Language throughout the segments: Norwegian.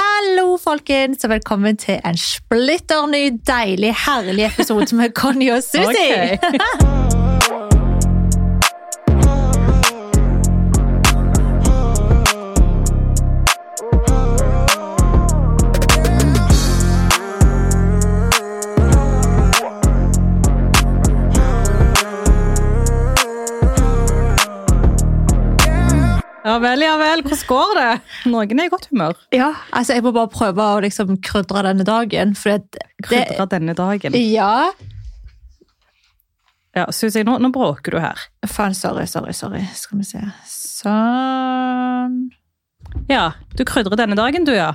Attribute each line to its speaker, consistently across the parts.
Speaker 1: Hallo, folkens, og velkommen til en splitter ny, deilig, herlig episode med Conny og Susi.
Speaker 2: Ok. Ja vel, ja vel. Hvordan går det? Noen er i godt humør.
Speaker 1: Ja, altså Jeg må bare prøve å liksom krydre denne dagen. For det, det,
Speaker 2: Krydra denne dagen.
Speaker 1: ja.
Speaker 2: Ja, Susi, nå, nå bråker du her.
Speaker 1: Faen, sorry, sorry. sorry. Skal vi se Sånn.
Speaker 2: Ja, du krydrer denne dagen, du, ja.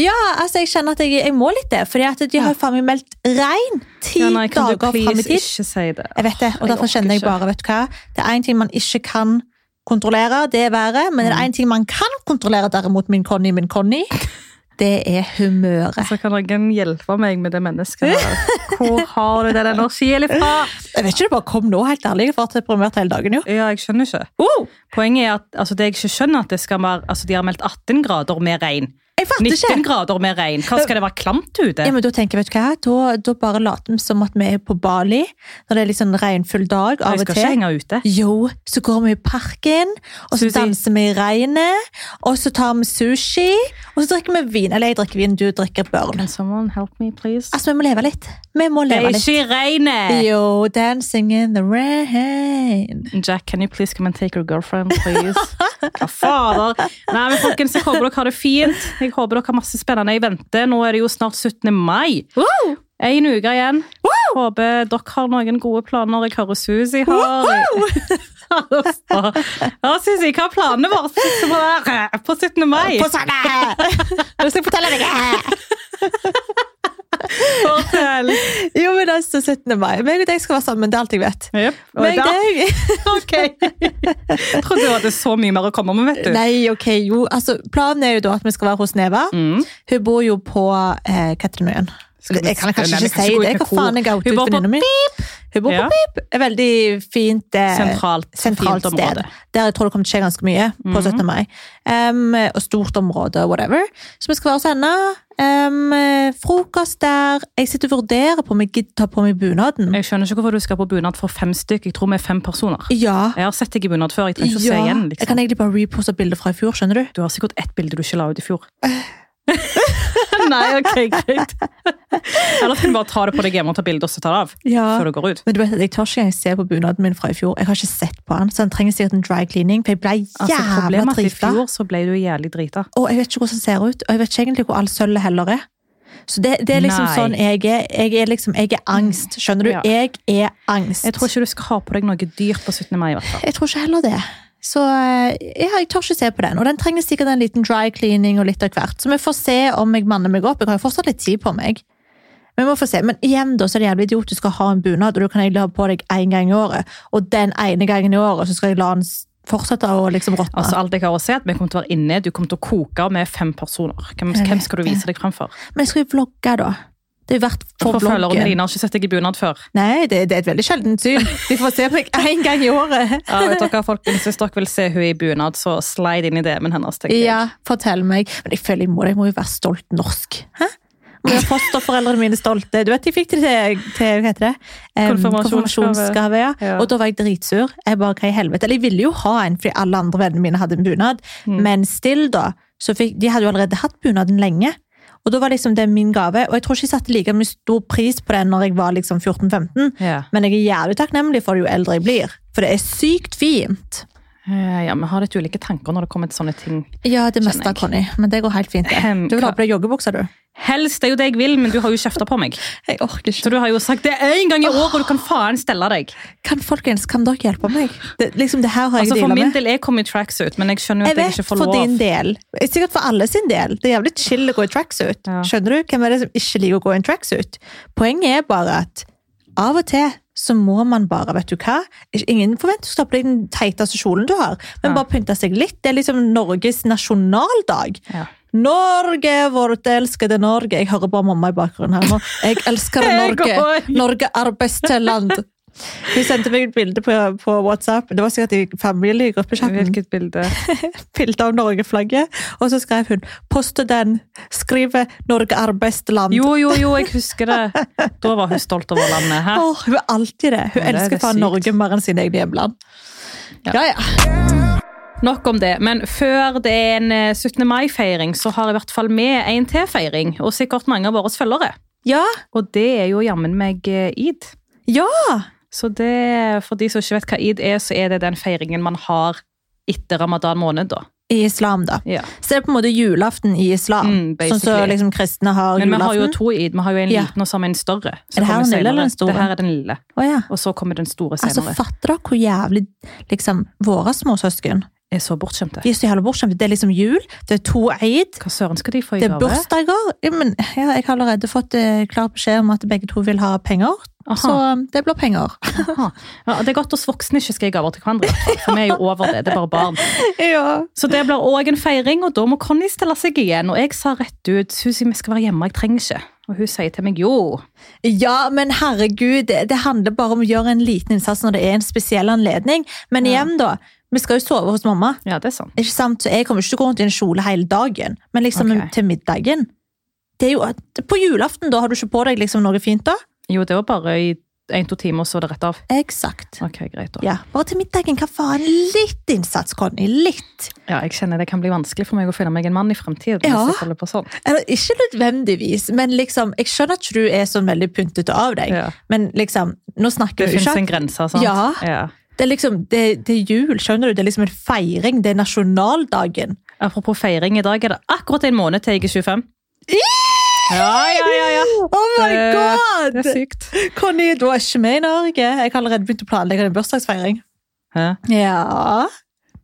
Speaker 1: Ja, altså jeg kjenner at jeg, jeg må litt det. fordi at de har faen meg meldt regn ti
Speaker 2: ja nei, kan du
Speaker 1: dager fram
Speaker 2: please
Speaker 1: i tid.
Speaker 2: ikke si det?
Speaker 1: Jeg vet det, og
Speaker 2: Jeg
Speaker 1: derfor
Speaker 2: orker
Speaker 1: kjenner jeg
Speaker 2: ikke.
Speaker 1: bare, vet du hva, det er en ting man ikke kan kontrollere, det er været, men det er en ting man kan kontrollere derimot, min Conny, min Conny, det er humøret.
Speaker 2: Så Altså, kan noen hjelpe meg med det mennesket her. Hvor har du den energien ifra?
Speaker 1: Jeg vet ikke, det bare kom nå, helt ærlig, for at jeg har deprimert hele dagen, jo.
Speaker 2: Ja, jeg skjønner ikke.
Speaker 1: Oh,
Speaker 2: Poenget er at altså, det jeg ikke skjønner, at det skal være altså, De har meldt 18 grader med regn.
Speaker 1: jeg fatter
Speaker 2: 19
Speaker 1: ikke!
Speaker 2: grader med regn. Hva skal det være klamt ute?
Speaker 1: Ja, men da tenker jeg, vet du hva, da, da bare later vi som at vi er på Bali, når det er litt sånn regnfull dag av og
Speaker 2: Jeg skal ikke
Speaker 1: til.
Speaker 2: henge ute.
Speaker 1: Jo, så går vi i parken, og så
Speaker 2: Sushi.
Speaker 1: danser vi i regnet, og så tar vi sushi, og så drikker vi vin. Eller jeg drikker vin, du drikker børn.
Speaker 2: Can someone help me, please?
Speaker 1: Altså, vi må leve litt. Vi må
Speaker 2: Det
Speaker 1: leve
Speaker 2: er
Speaker 1: litt.
Speaker 2: ikke i regnet!
Speaker 1: Jo, dancing in the rain.
Speaker 2: Jack, can you please come and take your girlfriend, please? Hva fader? Nei, men folkens, jeg håper dere har det fint. Jeg håper dere har masse spennende i vente. Nå er det jo snart 17. mai.
Speaker 1: Wow!
Speaker 2: En uke igjen. Håper dere har noen gode planer. Jeg hører Susi har. Ja, Susi, hva er planene våre på der- på 17. mai?
Speaker 1: På sånn eh, Nå skal jeg fortelle deg eh.
Speaker 2: Fortell.
Speaker 1: Jo, men altså, 17. mai. Meg og deg skal være sammen, det er alt jeg vet.
Speaker 2: Jep. Og
Speaker 1: Meg
Speaker 2: da-
Speaker 1: og deg.
Speaker 2: Ok. Jeg trodde du hadde så mye mer å komme med, vet du.
Speaker 1: Nei, ok, jo. Altså, planen er jo da at vi skal være hos Neva.
Speaker 2: Mm.
Speaker 1: Hun bor jo på eh, Katrinøyen.
Speaker 2: Skal vi-
Speaker 1: Jeg kan kanskje
Speaker 2: Nei, vi
Speaker 1: ikke
Speaker 2: kan
Speaker 1: si
Speaker 2: ikke gå
Speaker 1: det.
Speaker 2: ut
Speaker 1: Hva
Speaker 2: med
Speaker 1: faen
Speaker 2: kor.
Speaker 1: er gaute
Speaker 2: Hun bor på
Speaker 1: venninna mi? Hun bor på
Speaker 2: Ja.
Speaker 1: Pip. Et veldig fint eh,
Speaker 2: Sentralt,
Speaker 1: sentralt
Speaker 2: fint
Speaker 1: sted.
Speaker 2: område. Mhm.
Speaker 1: Der jeg tror det kommer til å skje ganske mye på 17. mai. Em, og stort område, whatever. Så vi skal være hos henne. Em, frokost der. Jeg sitter og vurderer på om jeg gidder ta på meg bunaden.
Speaker 2: Jeg skjønner ikke hvorfor du skal på bunad for fem stykk. Jeg tror vi er fem personer.
Speaker 1: Ja.
Speaker 2: Jeg har sett deg i bunad før. Jeg trenger ikke å se
Speaker 1: ja.
Speaker 2: igjen.
Speaker 1: Jeg kan
Speaker 2: Liksom.
Speaker 1: egentlig bare reposte bildet fra i fjor, skjønner du.
Speaker 2: Du har sikkert ett bilde du ikke la ut i fjor. Nei, ok, greit. Eller kan du bare ta det på deg hjemme og ta bilde og så ta det av?
Speaker 1: Ja.
Speaker 2: Før du går ut.
Speaker 1: Men du vet, at Jeg tør ikke engang se på bunaden min fra i fjor. Jeg har ikke sett på den, så den trenger sikkert en dry cleaning. For jeg ble
Speaker 2: Altså,
Speaker 1: jævla
Speaker 2: problemet er at i
Speaker 1: drita.
Speaker 2: fjor så ble du jævlig drita.
Speaker 1: Og jeg vet ikke hvordan den ser ut, og jeg vet ikke egentlig hvor all sølvet heller er. Så det, det er liksom
Speaker 2: Nei.
Speaker 1: sånn jeg er. Jeg er liksom, jeg er angst, skjønner du?
Speaker 2: Ja.
Speaker 1: Jeg er angst.
Speaker 2: Jeg tror ikke du skal ha på deg noe dyrt på 17. mai. i hvert fall.
Speaker 1: Jeg tror ikke heller det. Så eh, ja, jeg tør ikke se på den. Og den trenger sikkert en liten dry cleaning og litt av hvert. Så vi får se om jeg manner meg opp. Jeg har jo fortsatt litt tid på meg. Men vi må få se. Men igjen da, så er det jævlig idiotisk å ha en bunad, og du kan egentlig ha på deg én gang i året. Og den ene gangen i året så skal jeg la den s- fortsette å liksom råtne.
Speaker 2: Altså, alt jeg har å si er at Vi kommer til å være inne, du kommer til å koke med fem personer. Hvem,
Speaker 1: Jeg
Speaker 2: hvem
Speaker 1: vet
Speaker 2: skal du vise deg fram for?
Speaker 1: Men jeg skal jo vlogge, da. Det er jo verdt for
Speaker 2: Forfølgerne
Speaker 1: bloggen.
Speaker 2: dine har ikke sett deg i bunad før.
Speaker 1: Nei, det, det er et veldig sjeldent syn. De får se meg én gang i året.
Speaker 2: Ja, vet dere, folkens, Hvis dere vil se hun i bunad, så slide inn i DM-en hennes. tenker jeg.
Speaker 1: Ja, fortell meg. Men jeg føler jeg må, jeg må jo være stolt norsk. Hæ? Må gjøre fosterforeldrene mine stolte. Du vet, jeg fikk det til, til hva heter det? Em,
Speaker 2: Konfirmasjonsgave.
Speaker 1: konfirmasjonsgave. Ja.
Speaker 2: Ja.
Speaker 1: Og da var jeg dritsur. Jeg bare, hva i helvete? Eller jeg ville jo ha en, fordi alle andre vennene mine hadde en bunad.
Speaker 2: Mm.
Speaker 1: Men still da, så fikk, de hadde jo allerede hatt bunaden lenge. Og da var liksom det min gave. Og jeg tror ikke jeg satte like mye stor pris på den når jeg var liksom 14-15.
Speaker 2: Ja.
Speaker 1: Men jeg er jævlig takknemlig for det jo eldre jeg blir. For det er sykt fint.
Speaker 2: Eh, ja, Vi har litt ulike tanker når det kommer til sånne ting.
Speaker 1: Ja, det
Speaker 2: Skjønner
Speaker 1: meste,
Speaker 2: jeg.
Speaker 1: Conny. Men det går helt fint. Det.
Speaker 2: Hem,
Speaker 1: Du vil
Speaker 2: hva-
Speaker 1: ha på deg joggebuksa, du?
Speaker 2: Helst det er jo det jeg vil, men du har jo kjefta på meg.
Speaker 1: Jeg orker
Speaker 2: Så
Speaker 1: ikke.
Speaker 2: du har jo sagt det én gang i året, og du kan faen stelle deg.
Speaker 1: Kan folkens, kan dere hjelpe meg? Det, liksom, det her har jeg
Speaker 2: Altså, For
Speaker 1: dealet
Speaker 2: min
Speaker 1: med.
Speaker 2: del, jeg kommer i tracksuit, men jeg skjønner jo
Speaker 1: Jeg
Speaker 2: at jeg
Speaker 1: vet,
Speaker 2: ikke får
Speaker 1: for
Speaker 2: lov.
Speaker 1: din del. Sikkert for alle sin del. Det er jævlig chill å gå i tracksuit.
Speaker 2: Ja.
Speaker 1: Skjønner du? Hvem er det som ikke liker å gå i en tracksuit? Poenget er bare at av og til så må man bare, vet du hva Ingen forventer å stoppe deg den teiteste kjolen du har, men
Speaker 2: Ja.
Speaker 1: bare pynte seg litt. Det er liksom Norges nasjonaldag.
Speaker 2: Ja.
Speaker 1: Norge, vårt elskede Norge. Jeg hører bare mamma i bakgrunnen her nå. Jeg elsker
Speaker 2: Jeg
Speaker 1: Norge.
Speaker 2: går.
Speaker 1: Norge er beste land. Hun sendte meg et bilde på, på WhatsApp. Det var sikkert i familiegruppechatten.
Speaker 2: Hvilket bilde?
Speaker 1: Bilde av Norge-flagget. Og så skrev hun 'Poste den'. Skrive 'Norge er best land'.
Speaker 2: Jo, jo, jo, jeg husker det. Da var hun stolt over landet. Hæ?
Speaker 1: Åh, hun er alltid det. Hun
Speaker 2: Ja, det er
Speaker 1: elsker
Speaker 2: det
Speaker 1: faen
Speaker 2: sykt.
Speaker 1: Norge mer enn sine egne hjemland.
Speaker 2: Ja.
Speaker 1: Ja, ja.
Speaker 2: Nok om det, men før det er en eh, 17. mai-feiring, så har i hvert fall vi en til feiring, og sikkert mange av våre følgere.
Speaker 1: Ja!
Speaker 2: Og det er jo jammen meg eh, id.
Speaker 1: Ja!
Speaker 2: Så det, for de som ikke vet hva id er, så er det den feiringen man har etter ramadan måned, da.
Speaker 1: I islam, da.
Speaker 2: Ja.
Speaker 1: Så det er på en måte julaften i islam.
Speaker 2: Mm,
Speaker 1: sånn
Speaker 2: basically.
Speaker 1: som liksom, kristne har
Speaker 2: Men vi har jo
Speaker 1: julaften.
Speaker 2: to id. Vi har jo en
Speaker 1: Ja.
Speaker 2: liten og sammen en større.
Speaker 1: Er det her den
Speaker 2: kommer
Speaker 1: lille eller
Speaker 2: senere.
Speaker 1: den store?
Speaker 2: Det her er den lille.
Speaker 1: Å, ja.
Speaker 2: Og så kommer den store
Speaker 1: Altså,
Speaker 2: senere.
Speaker 1: Fatter dere hvor jævlig liksom, våre småsøsken
Speaker 2: er så bortskjemte.
Speaker 1: De er så jævlig bortskjemte. Det er liksom jul, det er to eid,
Speaker 2: Hva søren skal de få i
Speaker 1: det er
Speaker 2: gave?
Speaker 1: bursdager. Ja, men, ja, jeg har allerede fått eh, klar beskjed om at begge to vil ha penger,
Speaker 2: Aha.
Speaker 1: så um, det blir penger.
Speaker 2: Aha. Ja, det er godt oss voksne ikke skal gi gaver til hverandre. i hvert fall, For vi er jo over det. Det er bare barn.
Speaker 1: ja.
Speaker 2: Så det blir òg en feiring, og da må Conny stille seg igjen. Og jeg sa rett ut hun sier vi skal være hjemme, jeg trenger ikke. Og hun sier til meg jo.
Speaker 1: Ja, men herregud, det, det handler bare om å gjøre en liten innsats når det er en spesiell anledning. Men
Speaker 2: Ja.
Speaker 1: igjen, da. Vi skal jo sove hos mamma.
Speaker 2: Ja, det er sant.
Speaker 1: Ikke sant? Så jeg kommer ikke til å gå rundt i en kjole hele dagen, men liksom
Speaker 2: Ok.
Speaker 1: til middagen. Det er jo, at- på julaften, da har du ikke på deg liksom noe fint, da?
Speaker 2: Jo, det var bare i en-to timer, så var det rett av.
Speaker 1: Eksakt.
Speaker 2: Ok, greit da.
Speaker 1: Ja, Bare til middagen. Hva faen? Litt innsats, Conny. Litt.
Speaker 2: Ja, jeg kjenner det kan bli vanskelig for meg å finne meg en mann i fremtiden.
Speaker 1: Ja.
Speaker 2: hvis jeg holder på sånn.
Speaker 1: Eller ikke nødvendigvis, men liksom Jeg skjønner at ikke du er sånn veldig pyntete av deg,
Speaker 2: Ja.
Speaker 1: men liksom Nå snakker
Speaker 2: Det
Speaker 1: vi
Speaker 2: finnes
Speaker 1: ikke
Speaker 2: en grense, sant?
Speaker 1: Ja. Det er liksom, det, det er jul, skjønner du? Det er liksom en feiring. Det er nasjonaldagen.
Speaker 2: Apropos feiring, i dag er det akkurat en måned til jeg er 25. Ja, ja, ja, ja.
Speaker 1: Oh my
Speaker 2: Det-
Speaker 1: god!
Speaker 2: Det er sykt.
Speaker 1: Conny, du er ikke med i Norge. Jeg har allerede begynt å planlegge din bursdagsfeiring.
Speaker 2: Hæ?
Speaker 1: Ja,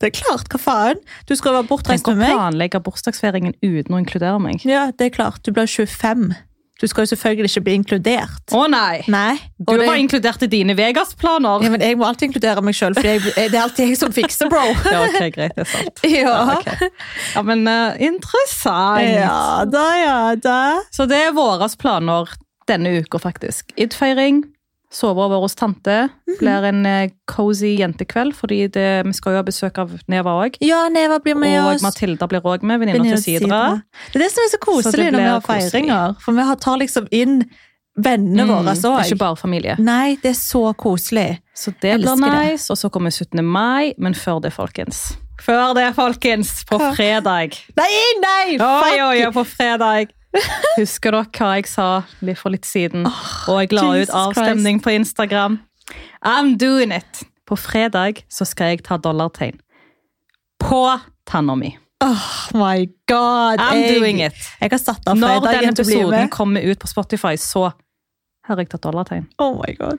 Speaker 1: det er klart. Hva faen? Du skal være bortreist
Speaker 2: Tenk å
Speaker 1: med meg.
Speaker 2: planlegge bursdagsfeiringen uten å inkludere meg.
Speaker 1: Ja, det er klart. Du blir 25. Du skal jo selvfølgelig ikke bli inkludert.
Speaker 2: Å nei!
Speaker 1: Nei.
Speaker 2: Du
Speaker 1: og det-
Speaker 2: var inkludert i dine Vegas-planer.
Speaker 1: ja, men jeg må alltid inkludere meg sjøl, for jeg, det er alltid jeg som fikser, bro.
Speaker 2: Ja, ok, greit, det er sant.
Speaker 1: Ja.
Speaker 2: Ok. Ja, men eh, interessant.
Speaker 1: ja da, ja da.
Speaker 2: Så det er våre planer denne uka, faktisk. Id-feiring, sove over hos tante,
Speaker 1: Mhm.
Speaker 2: blir en eh, cozy jentekveld, fordi det, vi skal jo ha besøk av Neva òg.
Speaker 1: Ja, Neva blir med
Speaker 2: Og
Speaker 1: oss.
Speaker 2: Matilda blir òg med, venninna
Speaker 1: Venninner
Speaker 2: til
Speaker 1: til
Speaker 2: Sidra.
Speaker 1: Sidra. Det er det som er så
Speaker 2: Så det
Speaker 1: koselig når vi
Speaker 2: blir
Speaker 1: har
Speaker 2: koselig.
Speaker 1: feiringer. For vi har- tar liksom inn vennene våre
Speaker 2: Mm, ikke
Speaker 1: òg.
Speaker 2: bare familie.
Speaker 1: Nei, det er så koselig.
Speaker 2: Så det blir
Speaker 1: Elsker det.
Speaker 2: nice, og så kommer 17. mai, men før det, folkens. Før det, folkens! På
Speaker 1: Hva?
Speaker 2: fredag.
Speaker 1: Nei, nei!
Speaker 2: Oi,
Speaker 1: fuck!
Speaker 2: oi, oi, på fredag. Husker dere hva jeg sa litt for litt siden? Og jeg la ut
Speaker 1: Jesus
Speaker 2: avstemning på Instagram. I'm doing it! På fredag så skal jeg ta dollartegn. På tanna mi.
Speaker 1: Oh my god.
Speaker 2: I'm
Speaker 1: jeg,
Speaker 2: doing it.
Speaker 1: Jeg har satt av
Speaker 2: Når den
Speaker 1: fredagen til å bli
Speaker 2: episoden
Speaker 1: med.
Speaker 2: kommer ut på Spotify, så har jeg tatt dollartegn.
Speaker 1: Oh my god.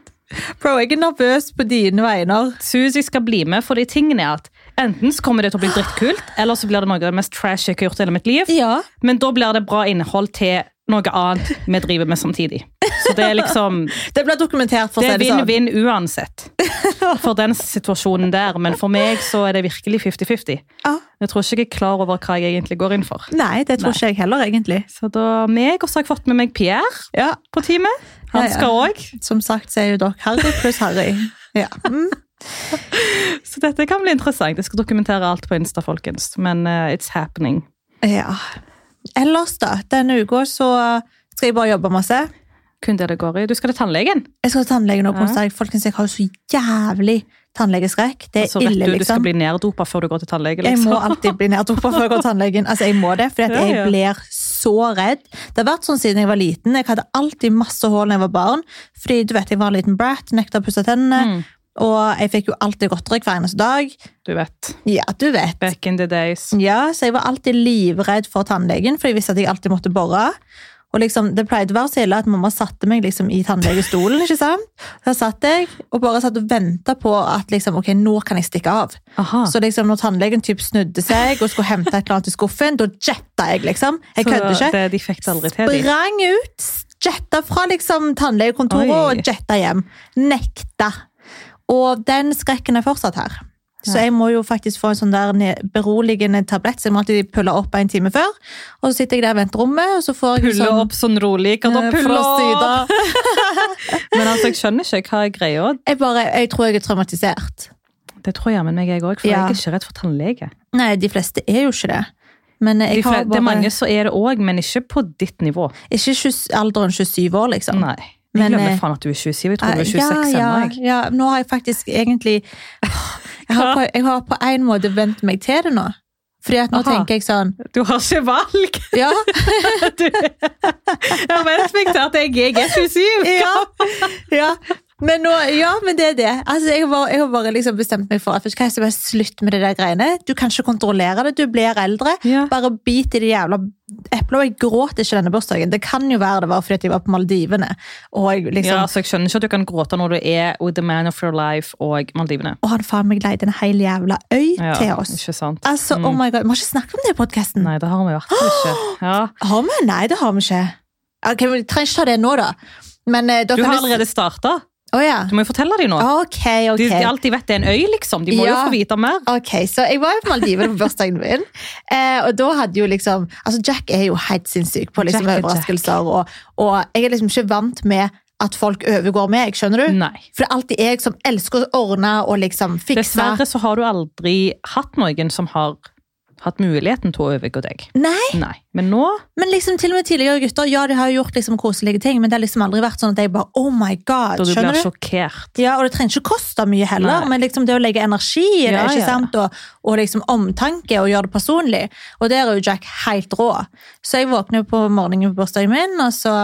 Speaker 1: Bro, jeg er nervøs på dine vegner.
Speaker 2: Suzy skal bli med, for de tingene er at enten så kommer det til å bli drittkult, eller så blir det noe av det mest trash jeg har gjort i hele mitt liv.
Speaker 1: Ja.
Speaker 2: Men da blir det bra innhold til noe annet vi driver med samtidig. Så det er liksom
Speaker 1: Det blir dokumentert, for å
Speaker 2: Det
Speaker 1: si
Speaker 2: er
Speaker 1: det sånn.
Speaker 2: vinn-vinn uansett. For den situasjonen der. Men for meg så er det virkelig 50-50.
Speaker 1: Ja.
Speaker 2: Jeg tror ikke jeg er klar over hva jeg egentlig går inn for.
Speaker 1: Nei, det tror
Speaker 2: Nei.
Speaker 1: ikke jeg heller, egentlig.
Speaker 2: Så da meg, og så har jeg fått med meg Pierre
Speaker 1: Ja,
Speaker 2: på teamet. Han
Speaker 1: Ja, ja.
Speaker 2: skal òg.
Speaker 1: Som sagt så er jo dere Harry pluss Harry. Ja. Mm.
Speaker 2: Så dette kan bli interessant. Jeg skal dokumentere alt på Insta, folkens. Men eh, it's happening.
Speaker 1: ja. Ellers, da. Denne uka så skal jeg bare jobbe masse.
Speaker 2: Kun det det går i. Du skal til tannlegen.
Speaker 1: Jeg skal til tannlegen nå på
Speaker 2: Ja.
Speaker 1: onsdag. Folkens, jeg har jo så jævlig tannlegeskrekk. Det er
Speaker 2: Så Altså, vet
Speaker 1: ille,
Speaker 2: du du skal
Speaker 1: liksom.
Speaker 2: bli neddopa før du går til tannlege.
Speaker 1: Jeg
Speaker 2: Liksom.
Speaker 1: må alltid bli neddopa før jeg går til tannlegen. Altså, jeg må det, fordi at
Speaker 2: Ja, ja.
Speaker 1: jeg blir så redd. Det har vært sånn siden jeg var liten. Jeg hadde alltid masse hull da jeg var barn. Fordi du vet, jeg var en liten brat, nekta å pusse tennene.
Speaker 2: Mm,
Speaker 1: Og jeg fikk jo alltid godteri hver eneste dag.
Speaker 2: du vet.
Speaker 1: Ja, du vet.
Speaker 2: Back in the days.
Speaker 1: Ja, så jeg var alltid livredd for tannlegen, for jeg visste at jeg alltid måtte bore. Og liksom, Det pleide å være så ille at mamma satte meg liksom i tannlegestolen. ikke sant? Der satt jeg og bare satt og venta på at liksom, ok, nå kan jeg stikke av.
Speaker 2: Aha.
Speaker 1: Så liksom, når tannlegen typ snudde seg og skulle hente et eller annet i skuffen, da jetta jeg, liksom. Jeg
Speaker 2: Så
Speaker 1: kødder ikke.
Speaker 2: Det, de fikk det aldri til, de.
Speaker 1: Sprang ut, jetta fra liksom tannlegekontoret
Speaker 2: Oi.
Speaker 1: og jetta hjem. Nekta. Og den skrekken er fortsatt her. Så
Speaker 2: Ja.
Speaker 1: jeg må jo faktisk få en sånn der ne- beroligende tablett, så jeg må alltid pulle opp en time før. Og så sitter jeg der i venterommet, og så får jeg en
Speaker 2: Pulle
Speaker 1: sånn
Speaker 2: opp sånn rolig. Kan du
Speaker 1: eh,
Speaker 2: pulle
Speaker 1: fra
Speaker 2: opp?
Speaker 1: sida.
Speaker 2: Men altså, jeg skjønner ikke hva jeg greier.
Speaker 1: Jeg, bare, jeg tror jeg er traumatisert.
Speaker 2: Det tror jeg jammen meg jeg òg, for
Speaker 1: Ja.
Speaker 2: jeg er ikke redd for tannlege.
Speaker 1: Nei, de fleste er jo ikke det. Men
Speaker 2: De
Speaker 1: jeg
Speaker 2: fle-
Speaker 1: har
Speaker 2: Det
Speaker 1: bare
Speaker 2: er mange som er det òg, men ikke på ditt nivå.
Speaker 1: Ikke 20, alderen 27 år, liksom.
Speaker 2: Nei. Jeg
Speaker 1: Men, eh,
Speaker 2: glemmer faen at du er 27. Jeg tror du er 26
Speaker 1: ja,
Speaker 2: ennå.
Speaker 1: ja,
Speaker 2: jeg.
Speaker 1: ja, nå har jeg faktisk egentlig Jeg har på, jeg har på en måte vent meg til det nå. Fordi at nå
Speaker 2: Aha.
Speaker 1: tenker jeg sånn
Speaker 2: Du har ikke valg!
Speaker 1: Ja,
Speaker 2: Du. Jeg har vent meg til at jeg, jeg er 27!
Speaker 1: ja, ja. Men nå, ja, men det er det. Altså, jeg, har bare, jeg har bare liksom bestemt meg for at vet du hva, jeg skal bare slutte med de der greiene. Du kan ikke kontrollere det. Du blir eldre.
Speaker 2: Ja.
Speaker 1: Bare bit i det jævla eplet. Og jeg gråt ikke denne bursdagen. Det kan jo være det var fordi at jeg var på Maldivene. Og jeg liksom
Speaker 2: Ja, altså, jeg skjønner ikke at du kan gråte når du er with the man of your life og Maldivene.
Speaker 1: Og han faen meg leide en hel jævla øy
Speaker 2: Ja, Mm.
Speaker 1: til oss.
Speaker 2: Ikke sant?
Speaker 1: Altså, oh my god, Vi har ikke snakket om det i podkasten.
Speaker 2: Nei, det har vi i hvert fall ikke. Ja.
Speaker 1: Har vi? Nei, det har vi ikke. Ok, men Vi trenger ikke ta det nå, da. Men eh, da
Speaker 2: Du
Speaker 1: kan vi
Speaker 2: har
Speaker 1: s-
Speaker 2: allerede starta.
Speaker 1: Å ja.
Speaker 2: Du må jo fortelle dem nå.
Speaker 1: Ok, ok.
Speaker 2: De, de alltid vet det er en øy, liksom. De må
Speaker 1: Ja.
Speaker 2: jo få vite mer.
Speaker 1: Ok, så Jeg var jo på Maldivene på bursdagen min. Eh, og da hadde jo liksom Altså, Jack er jo helt sinnssyk på liksom
Speaker 2: Jack er
Speaker 1: overraskelser. Og, og jeg er liksom ikke vant med at folk overgår meg, skjønner du?
Speaker 2: Nei.
Speaker 1: For det er alltid jeg som elsker å ordne og liksom fikse.
Speaker 2: Dessverre så har du aldri hatt noen som har hatt muligheten til å overgå deg.
Speaker 1: Nei,
Speaker 2: Nei. Men nå
Speaker 1: men liksom til og med tidligere gutter Ja, de har jo gjort liksom koselige ting, men det har liksom aldri vært sånn at jeg bare Oh my god,
Speaker 2: da du
Speaker 1: skjønner
Speaker 2: blir
Speaker 1: du?
Speaker 2: sjokkert.
Speaker 1: Ja, og det trenger ikke koste mye heller,
Speaker 2: Nei.
Speaker 1: men liksom det å legge energi i det,
Speaker 2: Ja,
Speaker 1: ikke
Speaker 2: ja.
Speaker 1: sant? Og, og liksom omtanke og gjøre det personlig. Og der er jo Jack helt rå. Så jeg våkner jo på morgenen på bursdagen min, og så